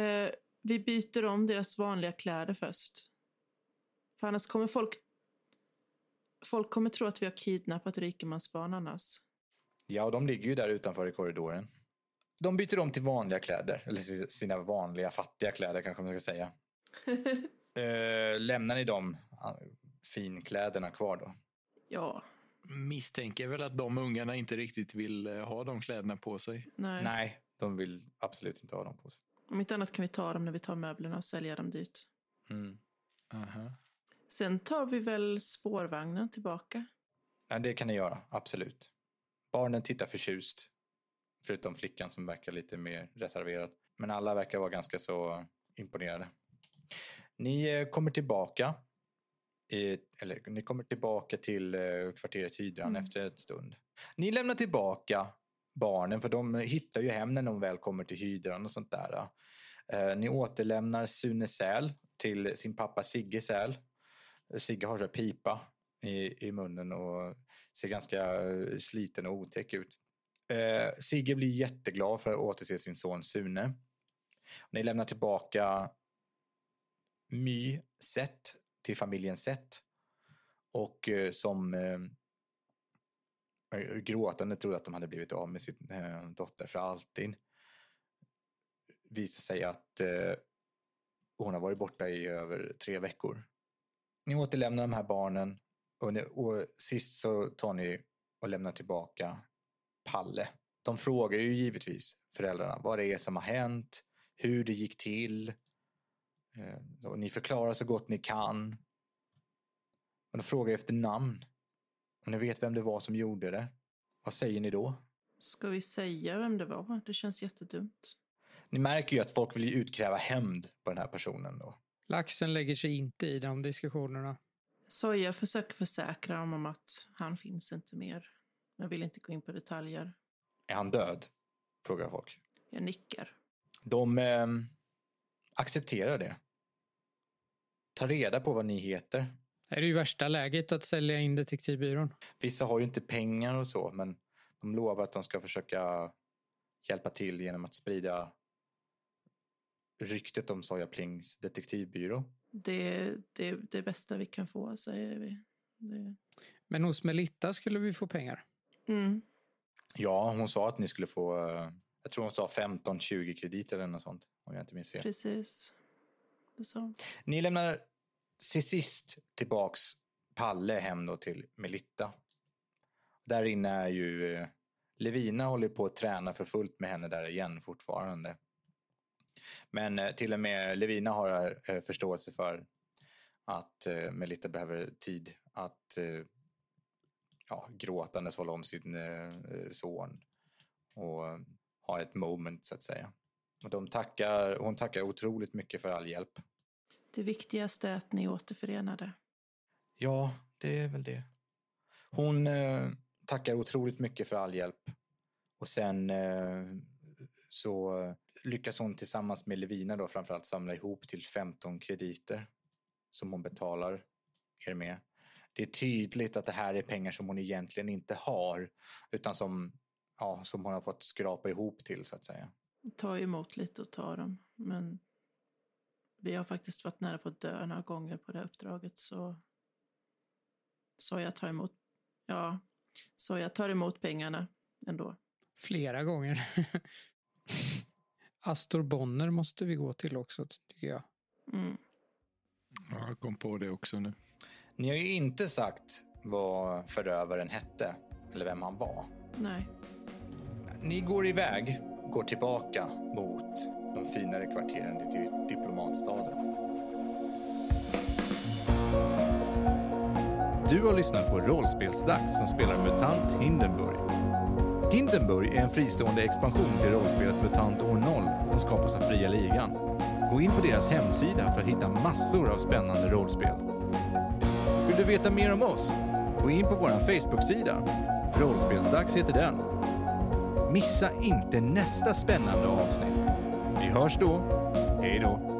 [SPEAKER 4] Eh, vi byter om deras vanliga kläder först. För annars kommer folk... Folk kommer tro att vi har kidnappat rikemansbarn annars.
[SPEAKER 1] Ja, de ligger ju där utanför i korridoren. De byter om till vanliga kläder, eller si- sina vanliga fattiga kläder kanske man ska säga. Eh, lämnar ni de ah, finkläderna kvar då?
[SPEAKER 4] ja,
[SPEAKER 3] Misstänker väl att de ungarna inte riktigt vill eh, ha de kläderna på sig.
[SPEAKER 4] nej.
[SPEAKER 1] Nej, de vill absolut inte ha dem på sig.
[SPEAKER 4] Om inte annat kan vi ta dem när vi tar möblerna och sälja dem dyrt.
[SPEAKER 1] Mm.
[SPEAKER 3] Aha.
[SPEAKER 4] Sen tar vi väl spårvagnen tillbaka.
[SPEAKER 1] Ja, det kan ni göra, absolut. Barnen tittar förtjust. Förutom flickan som verkar lite mer reserverad. Men alla verkar vara ganska så imponerade. Ni eh, kommer tillbaka. I, eller ni kommer tillbaka till eh, kvarteret Hydran
[SPEAKER 4] Mm.
[SPEAKER 1] efter ett stund. Ni lämnar tillbaka barnen för de hittar ju hem när de väl kommer till Hydran och sånt där. Eh, ni återlämnar Sune Säl till sin pappa Sigge Säl. Sigge har så här pipa i, i munnen och ser ganska eh, sliten och otäck ut. Eh, Sigge blir jätteglad för att återse sin son Sune. Ni lämnar tillbaka My Sett till familjen Sett. Och eh, som eh, gråtande trodde att de hade blivit av med sin eh, dotter för alltid. Visar sig att eh, hon har varit borta i över tre veckor. Ni återlämnar de här barnen och, ni, och sist så tar ni och lämnar tillbaka Palle. De frågar ju givetvis föräldrarna vad det är som har hänt, hur det gick till. Eh, Och ni förklarar så gott ni kan. Och de frågar efter namn. Och ni vet vem det var som gjorde det. Vad säger ni då?
[SPEAKER 4] Ska vi säga vem det var? Det känns jättedumt.
[SPEAKER 1] Ni märker ju att folk vill ju utkräva hämnd på den här personen då.
[SPEAKER 5] Laxen lägger sig inte i de diskussionerna.
[SPEAKER 4] Soja försöker försäkra dem om att han finns inte mer. Men vill inte gå in på detaljer.
[SPEAKER 1] Är han död? Frågar folk.
[SPEAKER 4] Jag nickar.
[SPEAKER 1] De eh, accepterar det. Tar reda på vad ni heter.
[SPEAKER 5] Det är ju värsta läget att sälja in detektivbyrån.
[SPEAKER 1] Vissa har ju inte pengar och så, men de lovar att de ska försöka hjälpa till genom att sprida ryktet om Soja Plings detektivbyrå.
[SPEAKER 4] Det, det är det bästa vi kan få, säger vi. Det.
[SPEAKER 5] Men hos Melitta skulle vi få pengar.
[SPEAKER 4] Mm.
[SPEAKER 1] Ja, hon sa att ni skulle få, eh, jag tror hon sa 15-20 krediter eller något sånt, om jag inte minns fel.
[SPEAKER 4] Precis. Det sa hon.
[SPEAKER 1] Ni lämnar till sist tillbaks Palle hem då till Melitta. Där inne är ju eh, Levina håller på att träna för fullt med henne där igen fortfarande. Men eh, till och med Levina har eh, förståelse för att eh, Melitta behöver tid att eh, ja, gråtandes hålla om sin eh, eh, son och eh, ha ett moment så att säga. Och de tackar, hon tackar otroligt mycket för all hjälp.
[SPEAKER 4] Det viktigaste är att ni är återförenade.
[SPEAKER 1] Ja, det är väl det. Hon eh, tackar otroligt mycket för all hjälp. Och sen eh, så eh, lyckas hon tillsammans med Levina då framförallt samla ihop till 15 krediter som hon betalar er med. Det är tydligt att det här är pengar som hon egentligen inte har utan som, ja, som hon har fått skrapa ihop till så att säga.
[SPEAKER 4] Ta emot lite och ta dem. Men vi har faktiskt varit nära på att dö några gånger på det här uppdraget. Så, så jag tar emot. Ja, så jag tar emot pengarna ändå.
[SPEAKER 5] Flera gånger. Astor Bonner måste vi gå till också, tycker jag.
[SPEAKER 4] Mm.
[SPEAKER 3] Ja, jag kom på det också nu.
[SPEAKER 1] Ni har ju inte sagt vad förövaren hette eller vem han var.
[SPEAKER 4] Nej.
[SPEAKER 1] Ni går iväg, går tillbaka mot de finare kvarteren till diplomatstaden.
[SPEAKER 2] Du har lyssnat på Rollspelsdags som spelar MUTANT Hindenburg. Hindenburg är en fristående expansion till rollspelet MUTANT år 0 som skapas av Fria Ligan. Gå in på deras hemsida för att hitta massor av spännande rollspel. Vill
[SPEAKER 1] Vill du veta mer om oss? Gå in på vår Facebook-sida. Rollspelsdags heter den. Missa inte nästa spännande avsnitt. Vi hörs då. Hej då.